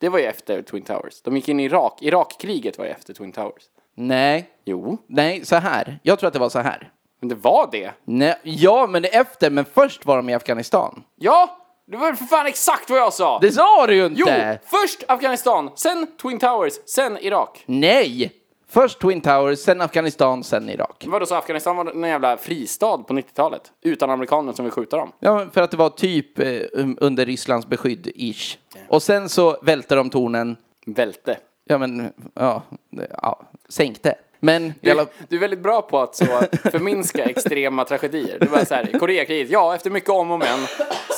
Det var ju efter Twin Towers. De gick in i Irak. Irakkriget var ju efter Twin Towers.
Nej,
Jo,
nej, så här. Jag tror att det var så här.
men det var det.
Nej, ja, men det är efter, men först var de i Afghanistan.
Ja, det var för fan exakt vad jag sa!
Det sa du ju
Jo!
inte!
Först Afghanistan, sen Twin Towers, sen Irak.
Nej! Först Twin Towers, sen Afghanistan, sen Irak.
Vadå, så Afghanistan var en jävla fristad på 90-talet? Utan amerikaner som vill skjuta dem?
Ja, men för att det var typ eh, um, under Rysslands beskydd, ish. Och sen så välte de tornen.
Välte.
Ja, men, ja, ja sänkte. Men,
Du, du är väldigt bra på att så förminska extrema tragedier. Du bara såhär, Koreakriget, ja efter mycket om och men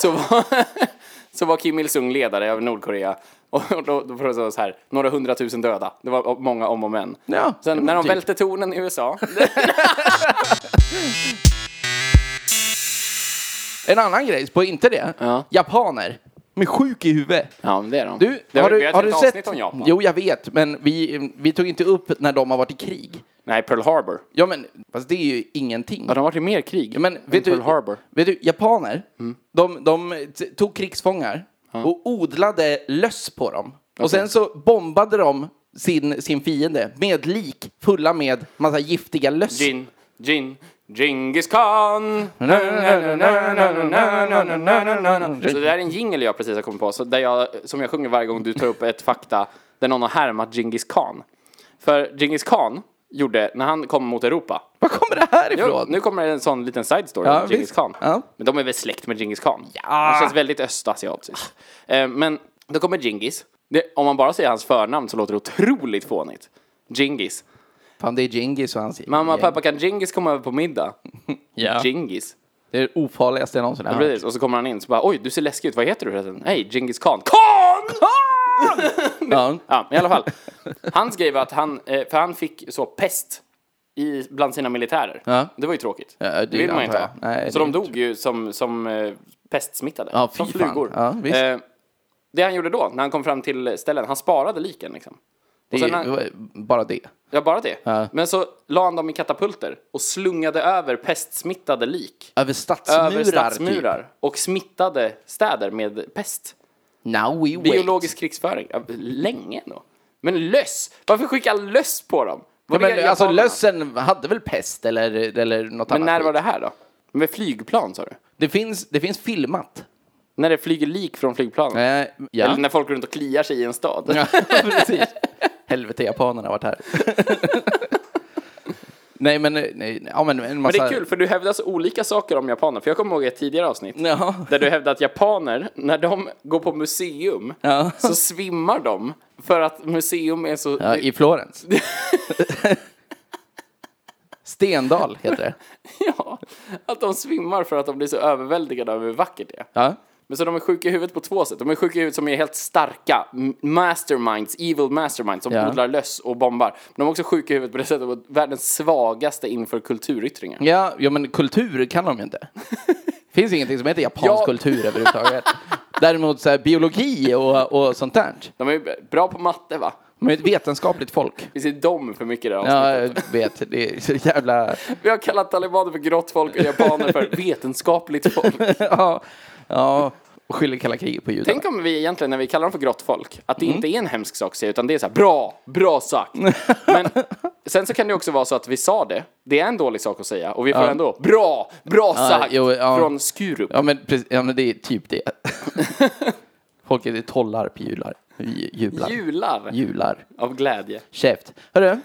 så var, så var Kim Il-Sung ledare över Nordkorea. Och då, då var det så här, några hundratusen döda. Det var många om och men.
Ja,
Sen när de
typ.
välte tornen i USA.
En annan grej, på inte det.
Ja.
Japaner. De är sjuk i huvudet.
Ja, men det är de.
Du,
det
har
vi
du,
ett
har du
helt
sett?
avsnitt om Japan.
Jo, jag vet, men vi, vi tog inte upp när de har varit i krig.
Nej, Pearl Harbor.
Ja, men fast det är ju ingenting.
Ja, de har varit i mer krig
Ja, men
än
vet
Pearl
du,
Harbor. Mm.
vet du, japaner, de, de t- tog krigsfångar och odlade löss på dem. Och sen så bombade de sin, sin fiende med lik fulla med massa giftiga löss.
Gin, gin, Genghis Khan. Så det där är en jingle jag precis har kommit på, så där jag, som jag sjunger varje gång du tar upp ett fakta där någon har härmat Genghis Khan. För Genghis Khan gjorde, när han kom mot Europa,
Var kommer det här ifrån?
nu kommer en sån liten side story
Ja,
om Genghis
visst.
Khan.
Ja.
Men de är väl släkt med Genghis Khan? Ja. Han känns väldigt östasiatiskt. Eh, Men då kommer Genghis. Det, om man bara säger hans förnamn så låter det otroligt fånigt. Genghis.
Fan, det är Djingis och hans
Mamma och pappa, kan Genghis komma över på middag?
Ja.
Genghis.
Det är det ofarligaste jag någonsin har hört.
Precis, och så kommer han in så bara oj, du ser läskig ut, vad heter du förresten? Nej, Genghis Khan. Khan!
Ja.
Ja, men i alla fall. Han skrev att han, eh, för han fick så pest i, bland sina militärer.
Ja.
Det var ju tråkigt.
det
det vill man ju inte
antar
ha.
jag. Nej,
så
det
de
är
dog ju som, som eh, pestsmittade.
Ja, fy
som
fan.
flugor.
Ja, visst.
Eh, det han gjorde då, när han kom fram till ställen, han sparade liken liksom.
Det
Och
är
sen
ju
han,
bara det.
ja, bara det.
Ja.
Men så la han dem i katapulter och slungade över pestsmittade lik.
Över stadsmurar. typ.
över stadsmurar och smittade städer med pest.
Now we wait.
Biologisk krigsföring. Ja, Länge ändå. Men löss! Varför skicka löss på dem?
Ja,
Var det
men, alltså
japanerna?
lössen hade väl pest eller, eller något
Men
annat?
när
skit.
var det här då? Med flygplan sa du?
det? finns, det finns filmat.
När det flyger lik från flygplanen?
Eh, ja.
Eller när folk går runt och kliar sig i en stad?
ja, precis. Helvete, japanerna har varit här. nej, men, eh, nej, ja, men en
Men det
massa...
är kul, för du hävdar så olika saker om japaner. För jag kommer ihåg ett tidigare avsnitt.
Ja.
Där du hävdade att japaner, när de går på museum,
Ja.
så svimmar de. För att museum är så...
Ja, I Florens. Stendal heter det.
Ja, att de svimmar för att de blir så överväldigade över hur vackert det är.
Ja.
Men så de är sjuka i huvudet på två sätt. De är sjuka i huvudet som är helt starka m- masterminds, evil masterminds som
Ja.
odlar löss och bombar. Men de är också sjuka i huvudet på det sättet att de är världens svagaste inför kulturyttringar.
Ja, ja, men kultur kan de ju inte. finns ingenting som heter japansk
Ja.
kultur överhuvudtaget. Däremot så här, biologi och, och sånt där.
De är ju bra på matte va?
De är ett vetenskapligt folk.
Vi ser dom för mycket där
Ja,
avsnittet.
jag vet. Det är så jävla...
Vi har kallat talibaner för grått folk och japaner för vetenskapligt folk.
Ja, ja. och skyller kalla kriget på judarna.
Tänk om vi egentligen, när vi kallar dem för grått folk, att det
Mm.
inte är en hemsk sak att säga, utan det är så här, bra, bra sagt. Men sen så kan det också vara så att vi sa det, det är en dålig sak att säga, och vi får ändå, bra, bra sagt,
jo, ja.
från Skurup.
Ja, men, precis, ja, men det är typ det. Folket i Tollarp jular. Ju- Jublar.
Jular
Jular.
av glädje.
Käft. Hörru,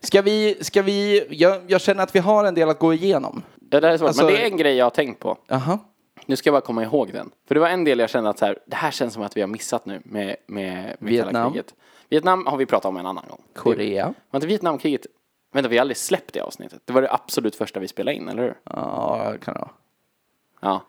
ska vi... Ska vi jag, jag känner att vi har en del att gå igenom.
Ja, det här är svårt,
Alltså-
men det är en grej jag har tänkt på.
Jaha.
Nu ska jag bara komma ihåg den. För det var en del jag kände att så här, det här känns som att vi har missat nu med, med, med kalla
Vietnam.
kriget. Vietnam har vi pratat om en annan gång.
Korea.
Var inte Vietnamkriget, vänta vi har aldrig släppt det avsnittet. Det var det absolut första vi spelade in, eller hur?
Ja, kan det vara.
Ja.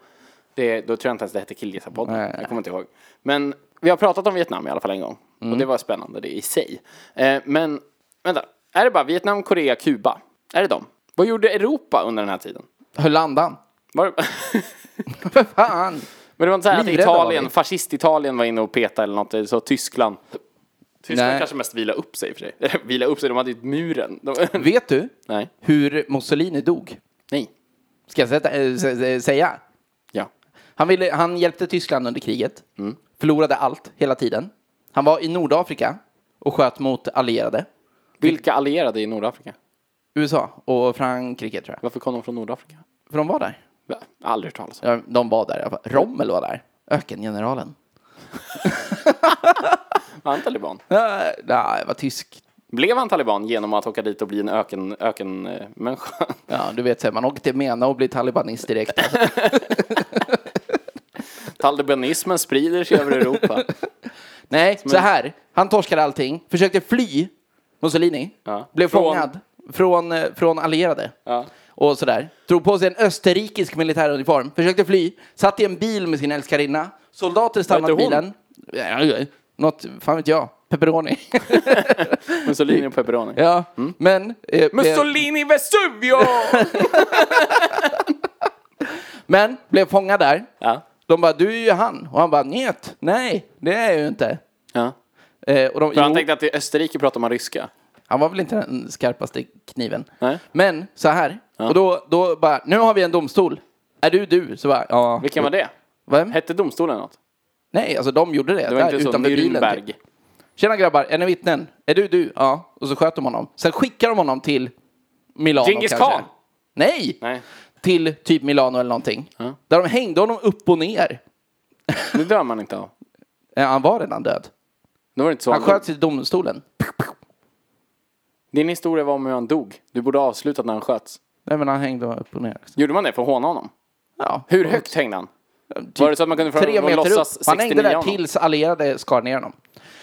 Det, då tror jag inte ens det hette Killgissarpodden.
Nej.
Jag kommer inte ihåg. Men vi har pratat om Vietnam i alla fall en gång. Och
Mm.
det var spännande det i sig. Eh, men vänta, är det bara Vietnam, Korea, Kuba? Är det dem? Vad gjorde Europa under den här tiden?
Höll andan.
Var,
För fan!
men det var inte så här att
Livrädda var
Italien,
vi.
fascist-Italien var inne och petade eller något. eller Så Tyskland. Tyskland
Nej.
kanske mest vila upp sig i och för sig. vila upp sig, de hade ju muren. De,
Vet du
nej.
hur Mussolini dog?
Nej.
Ska jag sätta, äh, sä- sä- säga?
Ja.
Han, ville, han hjälpte Tyskland under kriget. Förlorade allt hela tiden. Han var i Nordafrika och sköt mot allierade.
Vilka allierade i Nordafrika?
USA och Frankrike tror jag.
Varför kom de från Nordafrika?
För de var där.
Va? Aldrig hört talas om.
Ja, De var där. i alla fall. Rommel var där. Ökengeneralen.
Var han taliban?
Äh, Nej, det var tysk.
Blev han taliban genom att åka dit och bli en öken, öken eh, människa?
Ja, du vet, så här, man åker till Mena och blir talibanist direkt. Alltså.
Talibanismen sprider sig över Europa.
Nej, så här. Han torskade allting. Försökte fly, Mussolini.
Ja.
Blev
Från-
fångad från, eh, från allierade.
Ja.
Och sådär. Drog på sig en österrikisk militäruniform. Försökte fly. Satt i en bil med sin älskarinna. Soldater stannade
Vad heter
bilen. Ja, Något, fan vet jag. Pepperoni.
Mussolini och pepperoni.
ja, men... eh, blev-
Mm. Mussolini Vesuvio!
Men blev fångad där.
ja.
De bara, du är ju han. Och han bara, njet. Nej, det är jag ju inte.
ja.
Eh, och de,
För han
jo,
tänkte att i Österrike pratar man ryska.
han var väl inte den skarpaste kniven.
Nej.
Men så här. Och då, då bara, nu har vi en domstol. Är du du? Så bara, ja.
Vilken var det?
Vem?
Hette domstolen något?
Nej, alltså de gjorde det.
Det var
där,
inte så
utanför bilen. typ.
Nürnberg.
Tjena grabbar, är ni vittnen? Är du du? Ja. Och så sköt de honom. Sen skickar de honom till Milano
Genghis
kanske.
Khan?
Nej!
Nej.
Till typ Milano eller någonting.
Ja.
Där de hängde honom upp och ner.
Det dör man inte av.
Ja, han var redan död.
Nu var det inte så.
Han sköts till domstolen.
Din historia var om hur han dog. Du borde ha avslutat när han sköts.
Nej men han hängde upp och ner.
Gjorde man det för att håna honom?
Ja. Typ
Hur högt hängde han? Var det så att man kunde få
Tre
honom att
meter
låtsas
upp. Han
69
hängde där
honom?
tills allierade skar ner honom.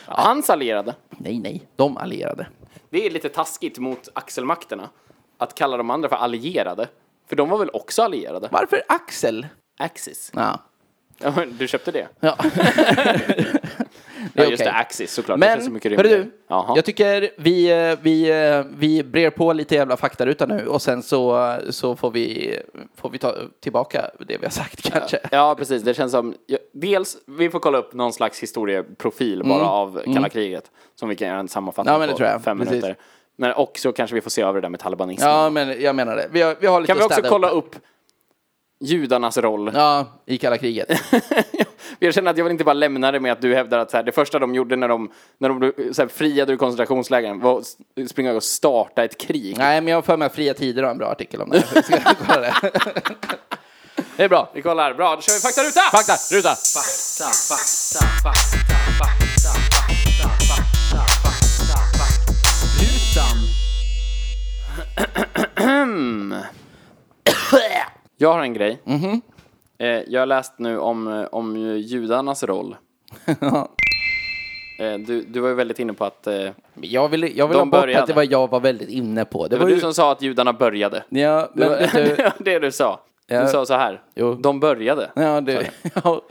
Hans allierade?
Nej, nej. De allierade.
Det är lite taskigt mot axelmakterna att kalla de andra för allierade. För de var väl också allierade?
Varför Axel?
Axis.
Ja.
Ja, Du köpte det?
Ja.
Ja,
är
just det.
okej.
Axis såklart. det
Men,
känns så mycket
hörru
rimligare.
du.
Jaha.
Jag tycker vi, eh, vi, eh, vi brer på lite jävla faktaruta nu och sen så, så får, vi, får vi ta tillbaka det vi har sagt kanske.
Ja, precis. Det känns som... ja, Dels, vi får kolla upp någon slags historieprofil bara av kalla kriget. Som vi kan göra en sammanfattning
Mm. Ja, men det
på
tror jag.
fem
Precis.
minuter. Men, och så kanske vi får se över det där med talibanismen.
Ja, men jag menar det. Vi har, vi har lite
kan vi också
städat
kolla
upp.
upp... judarnas roll.
Ja, i kalla kriget.
Jag känner att jag vill inte bara lämna det med att du hävdar att så här, det första de gjorde när de, när de så här, friade ur koncentrationslägren var att s- springa och starta ett krig.
Nej, men jag har för mig att Fria Tider har en bra artikel om det här. Ska jag kolla det? det är bra.
Vi kollar, bra, då kör vi faktaruta!
Fakta, ruta!
Jag har en grej.
Mhm.
Eh, jag har läst nu om, eh, om judarnas roll. Eh, du, du var ju väldigt inne på att... Eh, det
Men Jag vill, jag vill
De
ha bort
började.
att det var jag var väldigt inne på. Det
var
var
du
ju...
som sa att judarna började.
Ja, men
det,
vet du...
var, det du sa.
Ja.
Du sa så här.
Jo.
De började.
Ja, du... Ja,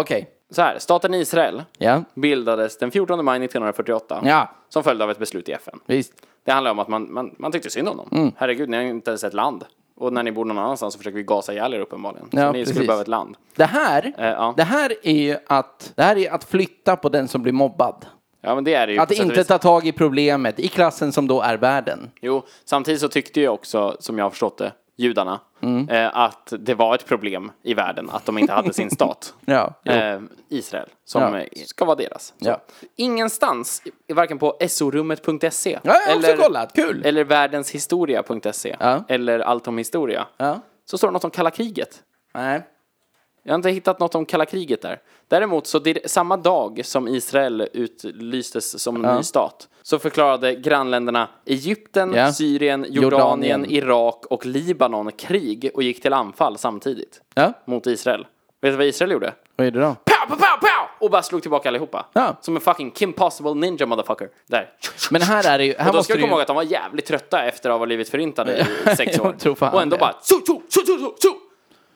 Okej.
Så här, staten Israel
Ja.
bildades den 14 maj 1948
Ja,
som följd av ett beslut i FN.
visst.
Det handlar om att man, man, man tyckte synd om dem.
Mm.
Herregud, ni har ju inte ens ett land. Och när ni bor någon annanstans så försöker vi gasa ihjäl er uppenbarligen.
Ja,
så ni skulle
precis.
behöva ett land.
Det här,
Eh, ja.
det här är ju att, det här är att flytta på den som blir mobbad.
Ja, men det är det ju.
Att
på sätt och
inte
vis.
ta tag i problemet i klassen som då är världen.
Jo, samtidigt så tyckte ju också, som jag har förstått det, judarna,
Mm.
eh, att det var ett problem i världen att de inte hade sin stat.
Ja, jo.
Eh, Israel, som
Ja.
eh, ska vara deras. Så.
Ja.
Ingenstans, i- varken på sorummet.se
Ja, jag har också kollat. Kul.
e eller världenshistoria.se
Ja.
eller allt om historia,
Ja.
så står det något om kalla kriget.
Nej.
Jag har inte hittat något om kalla kriget där. Däremot så dir- samma dag som Israel utlystes som ny stat så förklarade grannländerna Egypten,
Ja.
Syrien, Jordanien,
Jordanien.
Irak och Libanon krig och gick till anfall samtidigt
Ja,
mot Israel. Vet du vad Israel gjorde?
vad är det då?
Pow, pow, pow, pow! Och bara slog tillbaka allihopa.
Ja.
Som en fucking Kim Possible Ninja motherfucker. Där.
Men här är det ju... Här
Och då
måste
ska du
du
komma ihåg
ju...
att de var jävligt trötta efter att ha blivit förintade i sex
Jag
år.
tror fan
och ändå
det.
bara tjo, tjo, tjo, tjo, tjo, tjo.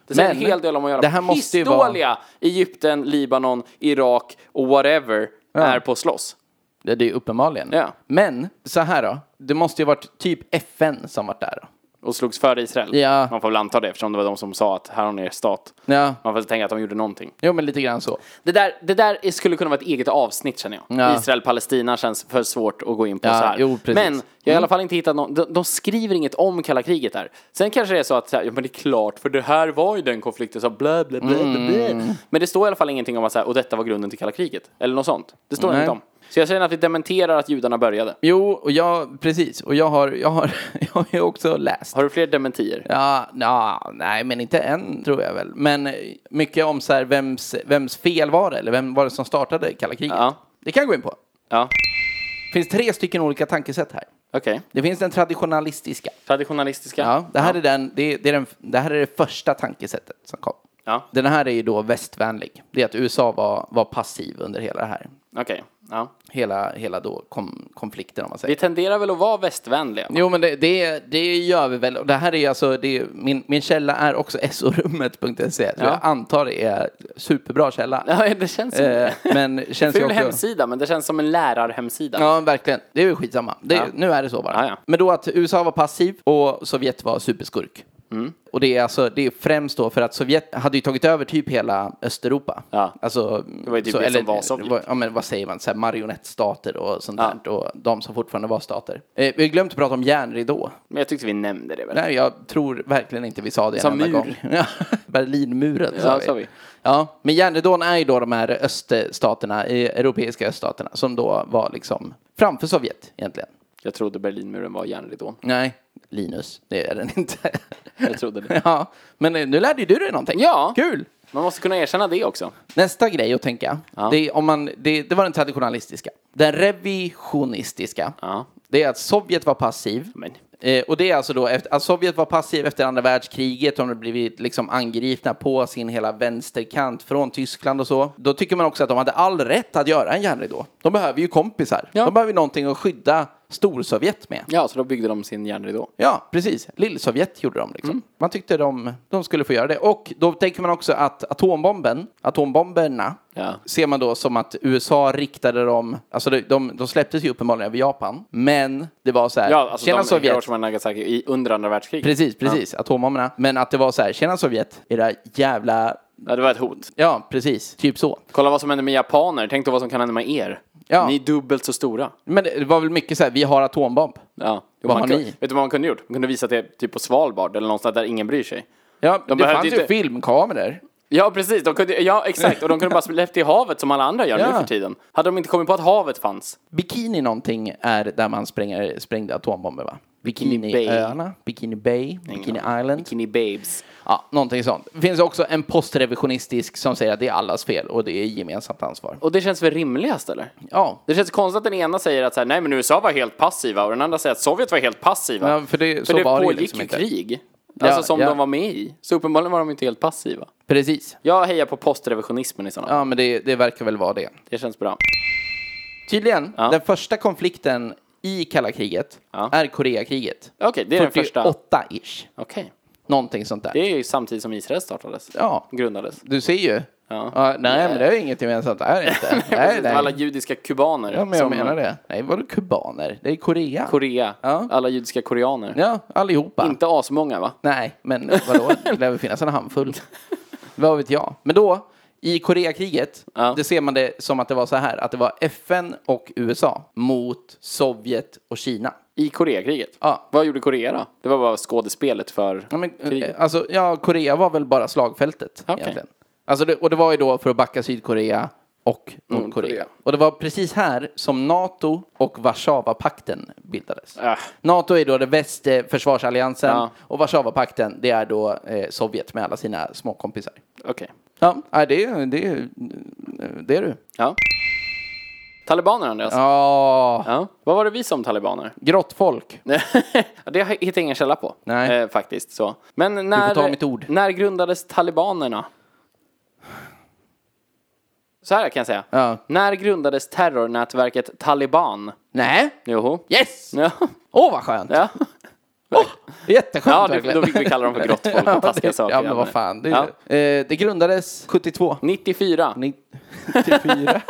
Det säger en
Men
hel del om att göra.
det här måste ju vara-
Pissdåliga Egypten, Libanon, Irak och whatever är på att slåss.
Det är ju uppenbarligen.
Ja.
Men, så här då. Det måste ju varit typ FN som varit där då.
Och slogs för Israel.
Ja.
Man får väl anta det eftersom det var de som sa att här har ni er stat.
Ja,
Man får väl tänka att de gjorde någonting.
jo men lite grann så.
Det där, det där är- skulle kunna vara ett eget avsnitt känner jag.
Ja.
Israel-Palestina känns för svårt att gå in på
Ja,
så här.
jo, precis. Mm.
men jag har i alla fall inte hittat någon, de, de skriver inget om kalla kriget där. Sen kanske det är så att, så här, ja men det är klart, för det här var ju den konflikten som blä, blä, blä, blä,
Mm.
blä. Men det står i alla fall ingenting om att så här, och detta var grunden till kalla kriget. Eller något sånt. Det står
Nej.
inte om. Så jag känner att vi dementerar att judarna började.
Jo, och jag, precis. Och jag har, jag har, jag har ju också läst.
Har du fler dementier?
Ja, ja, nej, men inte än tror jag väl. Men eh, mycket om så här, vems, vems fel var det? Eller vem var det som startade kalla kriget?
Ja.
Det kan jag gå in på.
Ja,
Det finns tre stycken olika tankesätt här.
okej.
Det finns den traditionalistiska.
Traditionalistiska?
Ja, det, här Är den, det, det, är den, det här är det första tankesättet som kom.
Ja,
Den här är ju då västvänlig. Det är att USA var, var passiv under hela det här.
okej. Ja.
Hela, hela då kom, konflikten om man säger.
Vi tenderar väl att vara västvänliga? va?
Jo, men det, det, det gör vi väl. Och det här är alltså, det är, min, min källa är också sorummet.se. E. Så jag antar det är superbra källa.
Ja, det känns som
Eh,
det.
men känns ju
Ful
också...
hemsida, men det känns som en lärarhemsida.
Ja, verkligen. Det är ju skitsamma. Det,
Ja.
Nu är det så bara.
Ja, ja.
Men då att USA var passiv och Sovjet var superskurk.
Mm.
Och det är, alltså, det är främst då för att Sovjet hade ju tagit över typ hela Östeuropa.
Ja.
Alltså,
Det var ju typ det som var Sovjet.
vad- Ja, men vad säger man? Så här, marionettstater och sånt där. Och de som fortfarande var stater. Eh, vi har glömt att prata om järnridå.
Men jag tyckte vi nämnde det väl?
Nej, jag tror verkligen inte vi sa det
Som
en enda
mur.
gång. Ja, Berlinmuren
Ja, sa vi.
Ja, men järnridån är ju då de här öststaterna, eh, europeiska öststaterna, som då var liksom framför Sovjet egentligen.
Jag trodde Berlinmuren var järnridån.
Nej, Linus, det är den inte.
Jag trodde det.
Ja, men eh, nu lärde ju du dig någonting.
Ja.
Kul!
Man måste kunna erkänna det också.
Nästa grej att tänka,
Ja.
det, är om man, det, det var den traditionalistiska. Den revisionistiska,
Ja.
det är att Sovjet var passiv.
Men
Eh, och det är alltså då efter, att Sovjet var passiv efter andra världskriget, de hade blivit liksom angripna på sin hela vänsterkant från Tyskland och så. Då tycker man också att de hade all rätt att göra en järnridå. De behöver ju kompisar.
Ja.
De behöver ju någonting att skydda Storsovjet med.
ja, så då byggde de sin järnridå.
Ja, precis. Lillsovjet gjorde de liksom.
Mm.
Man tyckte de, de skulle få göra det. Och då tänker man också att atombomben, atombomberna,
Ja.
ser man då som att USA riktade dem, alltså de, de, de släpptes ju uppenbarligen över Japan, men det var så här,
Ja, alltså
tjena
de
Sovjet,
Hiroshima och Nagasaki i under andra världskriget.
Precis, precis. Atombomberna. Men att det var så här, tjena Sovjet, era jävla...
Ja, det var ett hot.
Ja, precis. Typ så.
Kolla vad som hände med japaner. Tänk då vad som kan hända med er.
Ja.
Ni är dubbelt så stora.
Men det var väl mycket så här, vi har atombomb.
Ja.
Vad har
man kun-
ni?
Vet du vad man kunde gjort? Man kunde visa det typ på Svalbard eller någonstans där ingen bryr sig.
Ja, det
behövde
fanns ju
inte-
filmkameror.
Ja, precis. De kunde, ja, exakt. Och de kunde bara släppt i havet som alla andra gör
Ja.
nu för tiden. Hade de inte kommit på att havet fanns.
Bikini någonting är där man spränger, sprängde atombomber va? Bikiniöarna, Bikini Bay, Bikini Island.
Bikini Babes.
Ja, någonting sånt. Det finns också en postrevisionistisk som säger att det är allas fel och det är gemensamt ansvar.
Och det känns väl rimligast, eller?
Ja,
Det känns konstigt att den ena säger att så här, nej men USA var helt passiva och den andra säger att Sovjet var helt passiva.
Ja, för det- så
det
var det ju
pågick
liksom
ju
inte.
krig.
Ja,
alltså som
ja.
de var med i. Så uppenbarligen var de inte helt passiva.
precis.
Jag hejar på postrevisionismen i sådana fall.
Ja, men det, det verkar väl vara det.
Det känns bra.
Tydligen,
Ja.
den första konflikten i kalla kriget
Ja.
är Koreakriget.
Okej, det är den första.
48-ish.
Okej.
Någonting sånt där.
Det är ju samtidigt som Israel startades.
Ja,
Grundades.
du ser ju.
Ja.
nej, men det är ju inget gemensamt där inte. nej,
Precis,
nej.
Alla judiska kubaner.
Ja, men jag
som-
menar det. Nej, vadå kubaner? Det är Korea.
Korea.
Ja.
Alla judiska koreaner.
ja, allihopa.
Inte asmånga va?
Nej, men vadå? Det lär väl finnas en handfull. Vad vet jag? Men då, i Koreakriget,
Ja.
det ser man det som att det var så här, att det var FN och USA mot Sovjet och Kina.
I Koreakriget.
Ja.
Vad gjorde Korea då? Det var bara skådespelet för
Ja, men,
kriget.
eh, alltså, ja, Korea var väl bara slagfältet
Okej.
egentligen. Alltså det, och det var ju då för att backa Sydkorea och Nordkorea.
Nordkorea.
Och det var precis här som NATO och Warszawapakten bildades.
Äh.
NATO är då den väst eh, försvarsalliansen
Ja.
och Warszawapakten det är då eh, Sovjet med alla sina småkompisar.
Okej.
Ja, nej, det, är- det, är- det är du.
Ja. Talibaner Andreas. Ja.
Ja,
Vad var det vi som talibaner?
grottfolk.
det hittade jag ingen källa på.
Nej.
Eh, faktiskt så. Men när,
ta mitt ord.
när grundades talibanerna? Så här kan jag säga.
Ja.
När grundades terrornätverket Taliban?
Nej.
Joho.
Yes!
Ja.
Åh, vad skönt.
ja.
Jätteskönt
Ja, det,
verkligen.
då fick vi kalla dem för grottfolk och taskiga
det,
saker.
Ja, men vad fan. Det,
Ja.
eh, det grundades 72.
94.
94.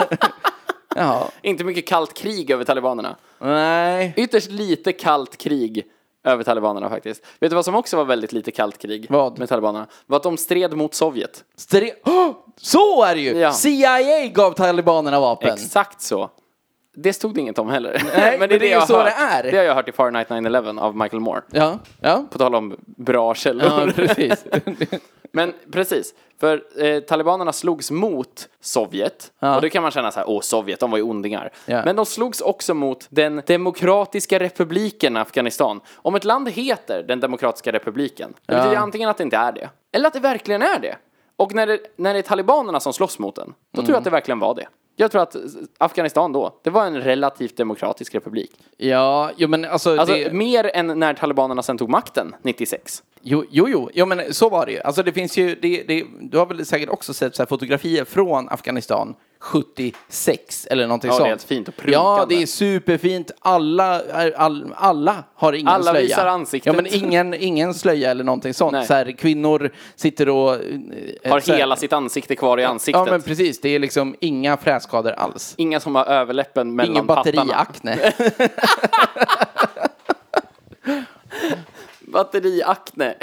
Jaha.
Inte mycket kallt krig över talibanerna.
Nej.
Ytterst lite kallt krig över talibanerna faktiskt. Vet du vad som också var väldigt lite kallt krig
Vad?
med talibanerna? Var att de stred mot Sovjet.
Stre- Åh, så är det ju!
Ja.
CIA gav talibanerna vapen.
Exakt så. Det stod det inget om heller.
Nej, men det är
jag har
så
hört.
det är.
Det har jag hört i Fahrenheit 9-11 av Michael Moore.
ja, ja.
På tal om bra källor.
ja precis.
Men precis, för eh, talibanerna slogs mot Sovjet.
Ja.
Och det kan man känna så här, åh Sovjet, de var ju ondingar.
Ja.
Men de slogs också mot den demokratiska republiken Afghanistan. Om ett land heter den demokratiska republiken, det betyder antingen att det inte är det, eller att det verkligen är det. Och när det, när det är talibanerna som slåss mot den, då tror jag
Mm.
att det verkligen var det. Jag tror att Afghanistan då, det var en relativt demokratisk republik.
ja, jo men alltså...
Alltså
det...
mer än när talibanerna sen tog makten 96.
Jo, jo, jo. jo men så var det ju. Alltså, det finns ju det, det, du har väl säkert också sett så här fotografier från Afghanistan 76 eller någonting
Ja, det
sånt.
är helt fint och prunkande.
Ja, det är superfint. Alla, är- all, alla har ingen
Alla
slöja.
visar ansiktet.
Ja, men ingen, ingen slöja eller någonting sånt.
Nej.
Så här, kvinnor sitter och... eh,
Har
så här-
hela sitt ansikte kvar i ansiktet.
Ja, men precis. Det är liksom inga fräskador alls.
Inga som har överläppen mellan
Ingen
pattarna.
batteriakne.
Batteriakne.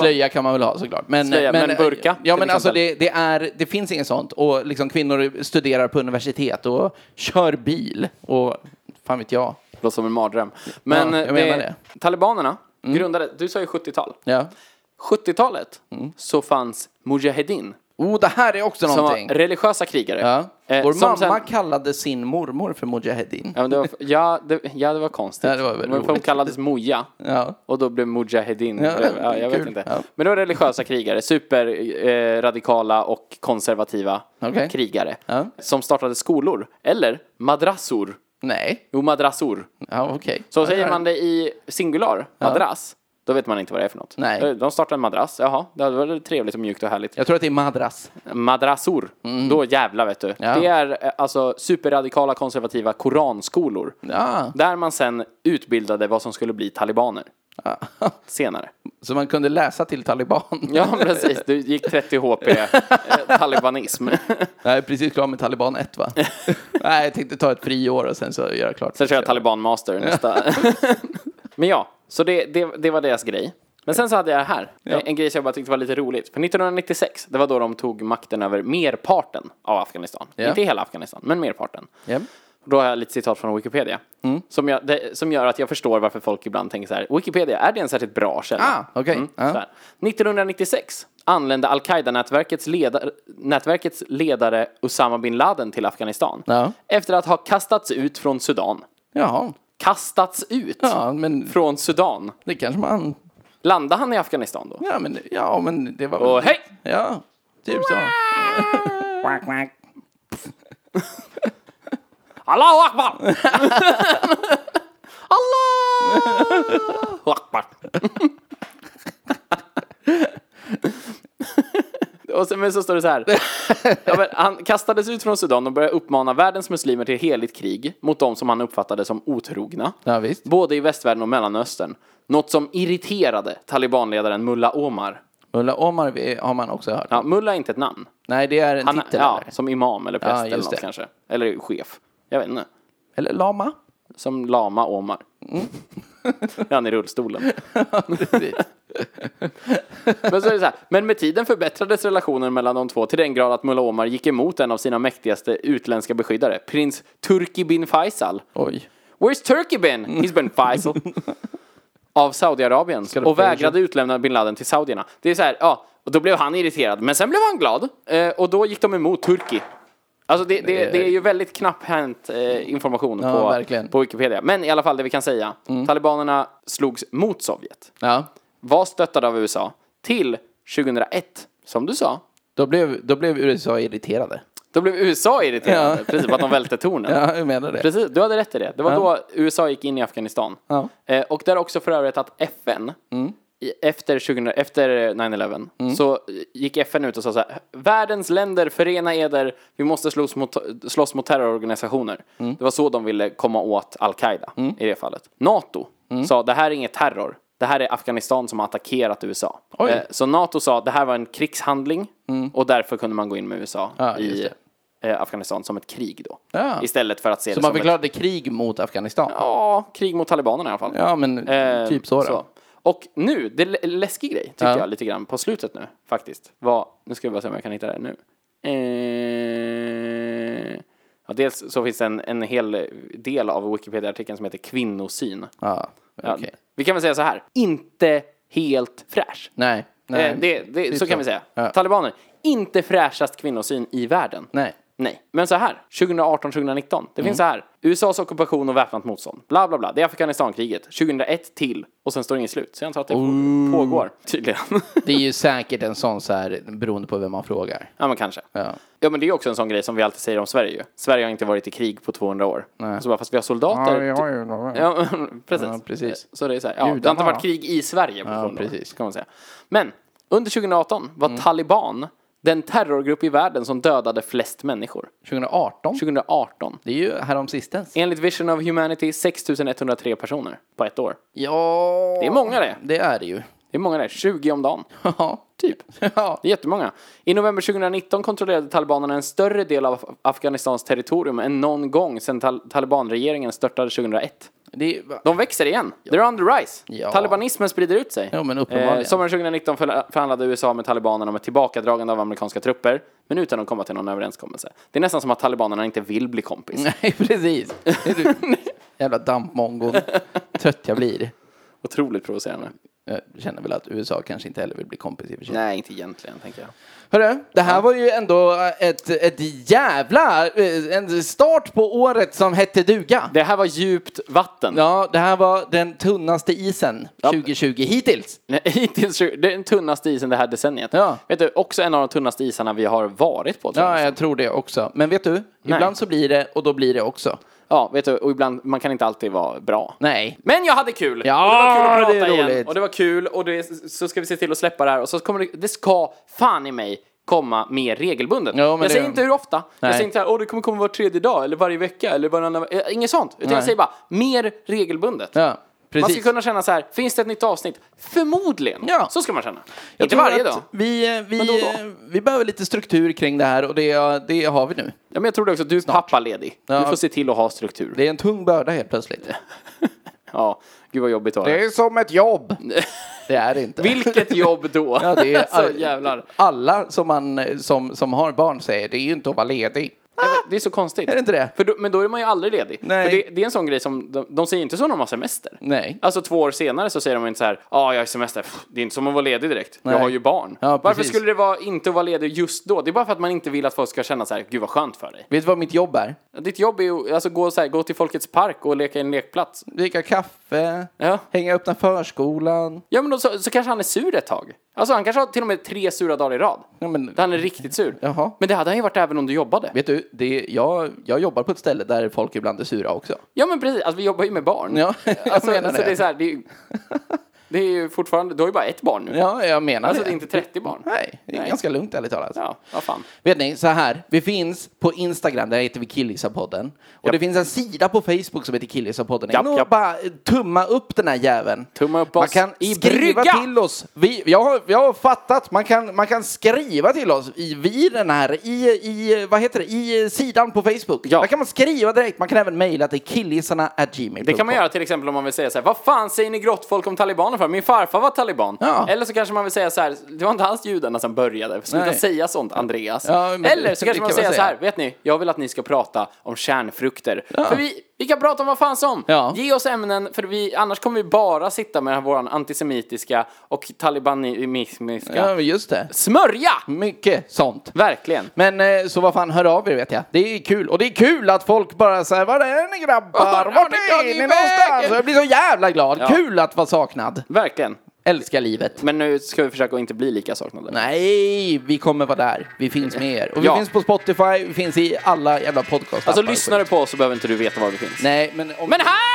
Slöja kan man väl ha såklart. Men, eh,
Slöja, men burka,
Ja,
till
men alltså
exempel.
det, det, är, det finns inget sånt. Och liksom kvinnor studerar på universitet och kör bil och fan vet jag.
Låter som en mardröm. Men
Ja, jag
eh,
menar det. Mm.
talibanerna grundade, du sa ju 70-tal.
Ja.
70-talet
Mm.
så fanns Mujahedin
Oh, det här är också
som
någonting.
var religiösa krigare.
Ja.
Eh,
Vår
som
mamma
sen-
kallade sin mormor för Mujahedin.
Ja, men det var, ja, det, ja, det var konstigt.
Ja, det var väl
Men de
roligt.
kallades Moja.
Ja.
Och då blev Mujahedin.
Ja,
Ja, ja, jag vet
kul.
inte.
Ja.
Men det var religiösa krigare. Superradikala eh, radikala och konservativa
Okej.
krigare.
Ja.
Som startade skolor. Eller madrassor.
Nej.
Jo, madrassor.
Ja, okej.
Så säger man det i singular, madrass, då vet man inte vad det är för något. Eh,
Nej.
De startar en madrass, jaha, det var väl trevligt och mjukt och härligt.
Jag tror att det är madrass.
Madrassor, då jävla vet du.
Ja.
Det är eh, alltså superradikala konservativa koranskolor.
Ja.
Där man sen utbildade vad som skulle bli talibaner senare.
Så man kunde läsa till taliban.
Ja, precis. Du gick 30 HP eh, talibanism.
Jag är precis klar med taliban 1 va? Nej, jag tänkte ta ett friår och sen så göra klart.
Sen kör jag talibanmaster nästa. Men ja, så det, det, det var deras grej. Men sen så hade jag det här, en grej som jag bara tyckte var lite roligt. För 1996, det var då de tog makten över merparten av Afghanistan.
Ja.
Inte hela Afghanistan, men merparten.
Ja.
Då har jag lite citat från Wikipedia.
Mm.
Som, jag, det, som gör att jag förstår varför folk ibland tänker så här. Wikipedia, är det en särskilt bra källa?
Ah, okej. Ja.
Så här. 1996 anlände al-Qaida-nätverkets ledare, nätverkets ledare Usama bin Laden till Afghanistan.
Ja.
Efter att ha kastats ut från Sudan.
Jaha.
Kastats ut
Ja, men
från Sudan.
det kanske man...
Landade han i Afghanistan då?
Ja, men, ja, men det var väl...
Och hej!
Ja, typ så.
Allahu akbar! Allahu akbar! Och sen, men så står det så här. Ja, men han kastades ut från Sudan och började uppmana världens muslimer till heligt krig mot de som han uppfattade som otrogna.
Ja, visst.
Både i västvärlden och Mellanöstern. Något som irriterade talibanledaren Mullah Omar.
Ulla Omar vi- har man också hört.
Ja, Mullah är inte ett namn.
Nej, det är en
Han,
titel.
ja,
eller?
som imam eller präst
Ja,
eller
just
något
det.
kanske. Eller chef. Jag vet inte.
Eller lama.
Som lama Omar.
Mm.
Han i rullstolen. Men, så är det så här. Men med tiden förbättrades relationen mellan de två till den grad att Mullah Omar gick emot en av sina mäktigaste utländska beskyddare, prins Turki bin Faisal.
Oj.
Where's Turkey been? He's been Faisal. Av Saudiarabien och vägrade utlämna bin Laden till saudierna. Det är så här, ja, och då blev han irriterad, men sen blev han glad. Eh, och då gick de emot Turki. Alltså det, det, det är ju väldigt knapphänt eh, information
Ja,
på,
verkligen. Mm.
på Wikipedia. Men i alla fall det vi kan säga. Talibanerna slogs mot Sovjet,
Ja.
var stöttade av USA, till 2001, som du sa.
Då blev, då blev USA irriterade.
Då blev USA irriterade,
Ja.
precis, på att de välte tornen.
Ja, jag menar det.
Precis, du hade rätt i det. Det var då USA gick in i Afghanistan.
Ja. Mm.
Eh, och där också för övrigt att FN, i, efter, 2000, efter eh, 9-11, så eh, gick FN ut och sa så här, världens länder förena eder, vi måste slåss mot, slåss mot terrororganisationer.
Mm.
Det var så de ville komma åt al-Qaida i det fallet. NATO
Mm.
sa, det här är inget terror. Det här är Afghanistan som har attackerat USA.
Oj. Mm.
Eh, Så NATO sa att det här var en krigshandling och därför kunde man gå in med USA
Ja,
i
just
eh, Afghanistan som ett krig då.
Ja.
Istället för att se
Så
det
man
som ett
förklarade krig mot Afghanistan?
Ja, krig mot talibanerna i alla fall.
Ja, men
Eh,
typ så. Då.
Och nu, det är lä- läskig grej tycker
Ja.
jag lite grann på slutet nu faktiskt. Vad, nu ska vi bara se om jag kan hitta det här nu. Eh, ja, dels så finns det en, en hel del av Wikipedia-artikeln som heter kvinnosyn.
Ja,
Ja,
okej.
Vi kan väl säga så här, inte helt fräsch.
Nej. nej.
Eh, det, det,
Typ
så kan vi säga.
Ja.
Talibaner, inte fräschast kvinnosyn i världen.
Nej.
Nej, men så här. 2018-2019. Det finns
Mm.
så här. USAs ockupation och väpnat motstånd. Bla, bla, bla. Det är Afghanistankriget. 2001 till. Och sen står det inget slut. Så jag antar att det på- pågår. Tydligen.
Oh. Det är ju säkert en sån så här, beroende på vem man frågar.
ja, men kanske.
Ja.
Ja, men det är ju också en sån grej som vi alltid säger om Sverige ju. Sverige har inte varit i krig på 200 år. Så bara, fast vi har soldater. typ.
ju några.
Ja, precis.
Ja, precis.
Så det är så här, ja, det har
Judarna.
inte varit krig i Sverige på ja,
precis. Mm.
kan man säga. Men under 2018 var Taliban den terrorgrupp i världen som dödade flest människor.
2018?
2018.
Det är ju härom sistens.
Enligt Vision of Humanity 6103 personer på ett år.
Ja.
Det är många det.
Det är det ju.
Det är många det. 20 om dagen.
Ja, typ. Ja.
Det är jättemånga. I november 2019 kontrollerade talibanerna en större del av Af- Afghanistans territorium än någon gång sedan tal- talibanregeringen störtade 2001.
Det är,
De växer igen. They're on the rise.
Ja.
Talibanismen sprider ut sig. Eh,
Jo, men uppenbarligen.
sommaren 2019 förla- förhandlade USA med talibanerna om ett tillbakadragande av amerikanska trupper, men utan att komma till någon överenskommelse. Det är nästan som att talibanerna inte vill bli kompis.
Nej, precis. Det är du. Jävla dampmongon. Trött jag blir.
Otroligt provocerande.
Jag känner väl att USA kanske inte heller vill bli kompis i och för sig.
Nej, inte egentligen, tänker jag.
Hörru, det här var ju ändå eh, ett, ett jävla... eh, En start på året som hette duga.
Det här var djupt vatten.
Ja, det här var den tunnaste isen 2020 hittills.
Nej, Hittills, det är den tunnaste isen det här decenniet.
Ja.
Vet du, också en av de tunnaste isarna vi har varit på. tror jag.
Ja, jag tror det också. Men vet du? Ibland så blir det och då blir det också.
ja, vet du, och ibland, man kan inte alltid vara bra.
Nej.
Men jag hade kul!
Ja,
och det var kul att prata
det är
igen.
roligt.
Och det var kul, och det, så ska vi se till att släppa det här. Och så kommer det, det ska fan i mig komma mer regelbundet.
Ja, men
jag
det-
säger inte hur ofta. Jag
Nej.
säger inte att det kommer komma var tredje dag, eller varje vecka, eller varannan... eh, Inget sånt. Utan jag
Nej.
säger bara, mer regelbundet.
Ja, precis.
Man ska kunna känna så här, finns det ett nytt avsnitt? Förmodligen.
Ja.
Så ska man känna.
Jag
inte
tror
varje
att
dag.
Vi, eh, vi,
Men då och då.
eh, vi behöver lite struktur kring det här och det, eh, det har vi nu.
Ja, men jag tror det också. Du är pappaledig. Du
Ja.
får se till att ha struktur.
Det är en tung börda helt plötsligt.
Ja, gud vad jobbigt att
är som ett jobb. Det är det inte.
Vilket jobb då?
Ja, det är
alltså, jävlar.
Alla som, man, eh, som, som har barn säger, det är ju inte att vara ledig.
Det är så konstigt.
Är det inte det?
För då, men då är man ju aldrig ledig.
Nej.
För det, det är en sån grej som, de, de säger inte så när de har semester.
Nej.
Alltså två år senare så säger de inte så här, ja jag har semester, Pff, det är inte som att vara ledig direkt,
Nej.
jag har ju barn.
Ja, precis.
Varför skulle det vara inte att vara ledig just då? Det är bara för att man inte vill att folk ska känna så här, gud vad skönt för dig.
Vet du vad mitt jobb är?
Ditt jobb är ju, alltså gå, så här, gå till Folkets Park och leka i en lekplats.
Dricka kaffe,
Ja.
hänga öppna förskolan.
Ja men då, så, så kanske han är sur ett tag. Alltså han kanske har till och med tre sura dagar i rad.
Ja, men,
Där han är riktigt sur.
Jaha.
Men det hade han ju varit även om du jobbade.
vet du, det, jag, jag jobbar på ett ställe där folk ibland är sura också.
Ja men precis, alltså vi jobbar ju med barn.
Ja, jag
alltså,
menar
alltså, det.
det.
är så här, det är ju, det är ju fortfarande, du har ju bara ett barn nu.
Ja, jag menar
Alltså det är inte 30 barn.
Nej, det är
Nej.
ganska lugnt ärligt talat.
Ja, vad fan.
Vet ni, så här. Vi finns på Instagram, där heter vi Killisapodden. Och det finns en sida på Facebook som heter Killisapodden.
Japp,
In och
japp.
bara eh, tumma upp den här jäveln.
Tumma upp
Man
oss
kan
i
skriva
brygga.
till oss. Vi, jag, har, jag har fattat, man kan, man kan skriva till oss i, vid den här, i, i, vad heter det, i sidan på Facebook.
Ja.
Där kan man skriva direkt, man kan även mejla till killisarna.gmail.com.
Det kan man göra till exempel om man vill säga så här, vad fan säger ni grottfolk om talibaner för? Min farfar var taliban.
Ja.
Eller så kanske man vill säga så här, det var inte alls judarna som började, sluta
Nej.
säga sånt Andreas.
Ja, men det-
Eller så
det
kanske
kan
man
man
vill säga, så
säga.
här, vet ni, jag vill att ni ska prata om kärnfrukter. För vi, vi kan prata om vad fan som.
Ja.
Ge oss ämnen, för vi, annars kommer vi bara sitta med våran antisemitiska och talibanismiska
Ja, men just det.
smörja!
Mycket sånt.
Verkligen.
Men eh, så vad fan, hör av er vet jag. Det är kul. Och det är kul att folk bara säger Var är ni grabbar?
Vart
Vart
är
är
ni
ni någonstans?
vägen?
Och Jag blir så jävla glad. Kul att vara saknad.
Verkligen.
Älskar livet.
Men nu ska vi försöka att inte bli lika saknade.
Nej, vi kommer vara där. Vi finns med er. Och vi
Ja.
finns på Spotify, vi finns i alla jävla podcast
Alltså lyssnar du på oss så behöver inte du veta var vi finns.
Nej, men om
Men här!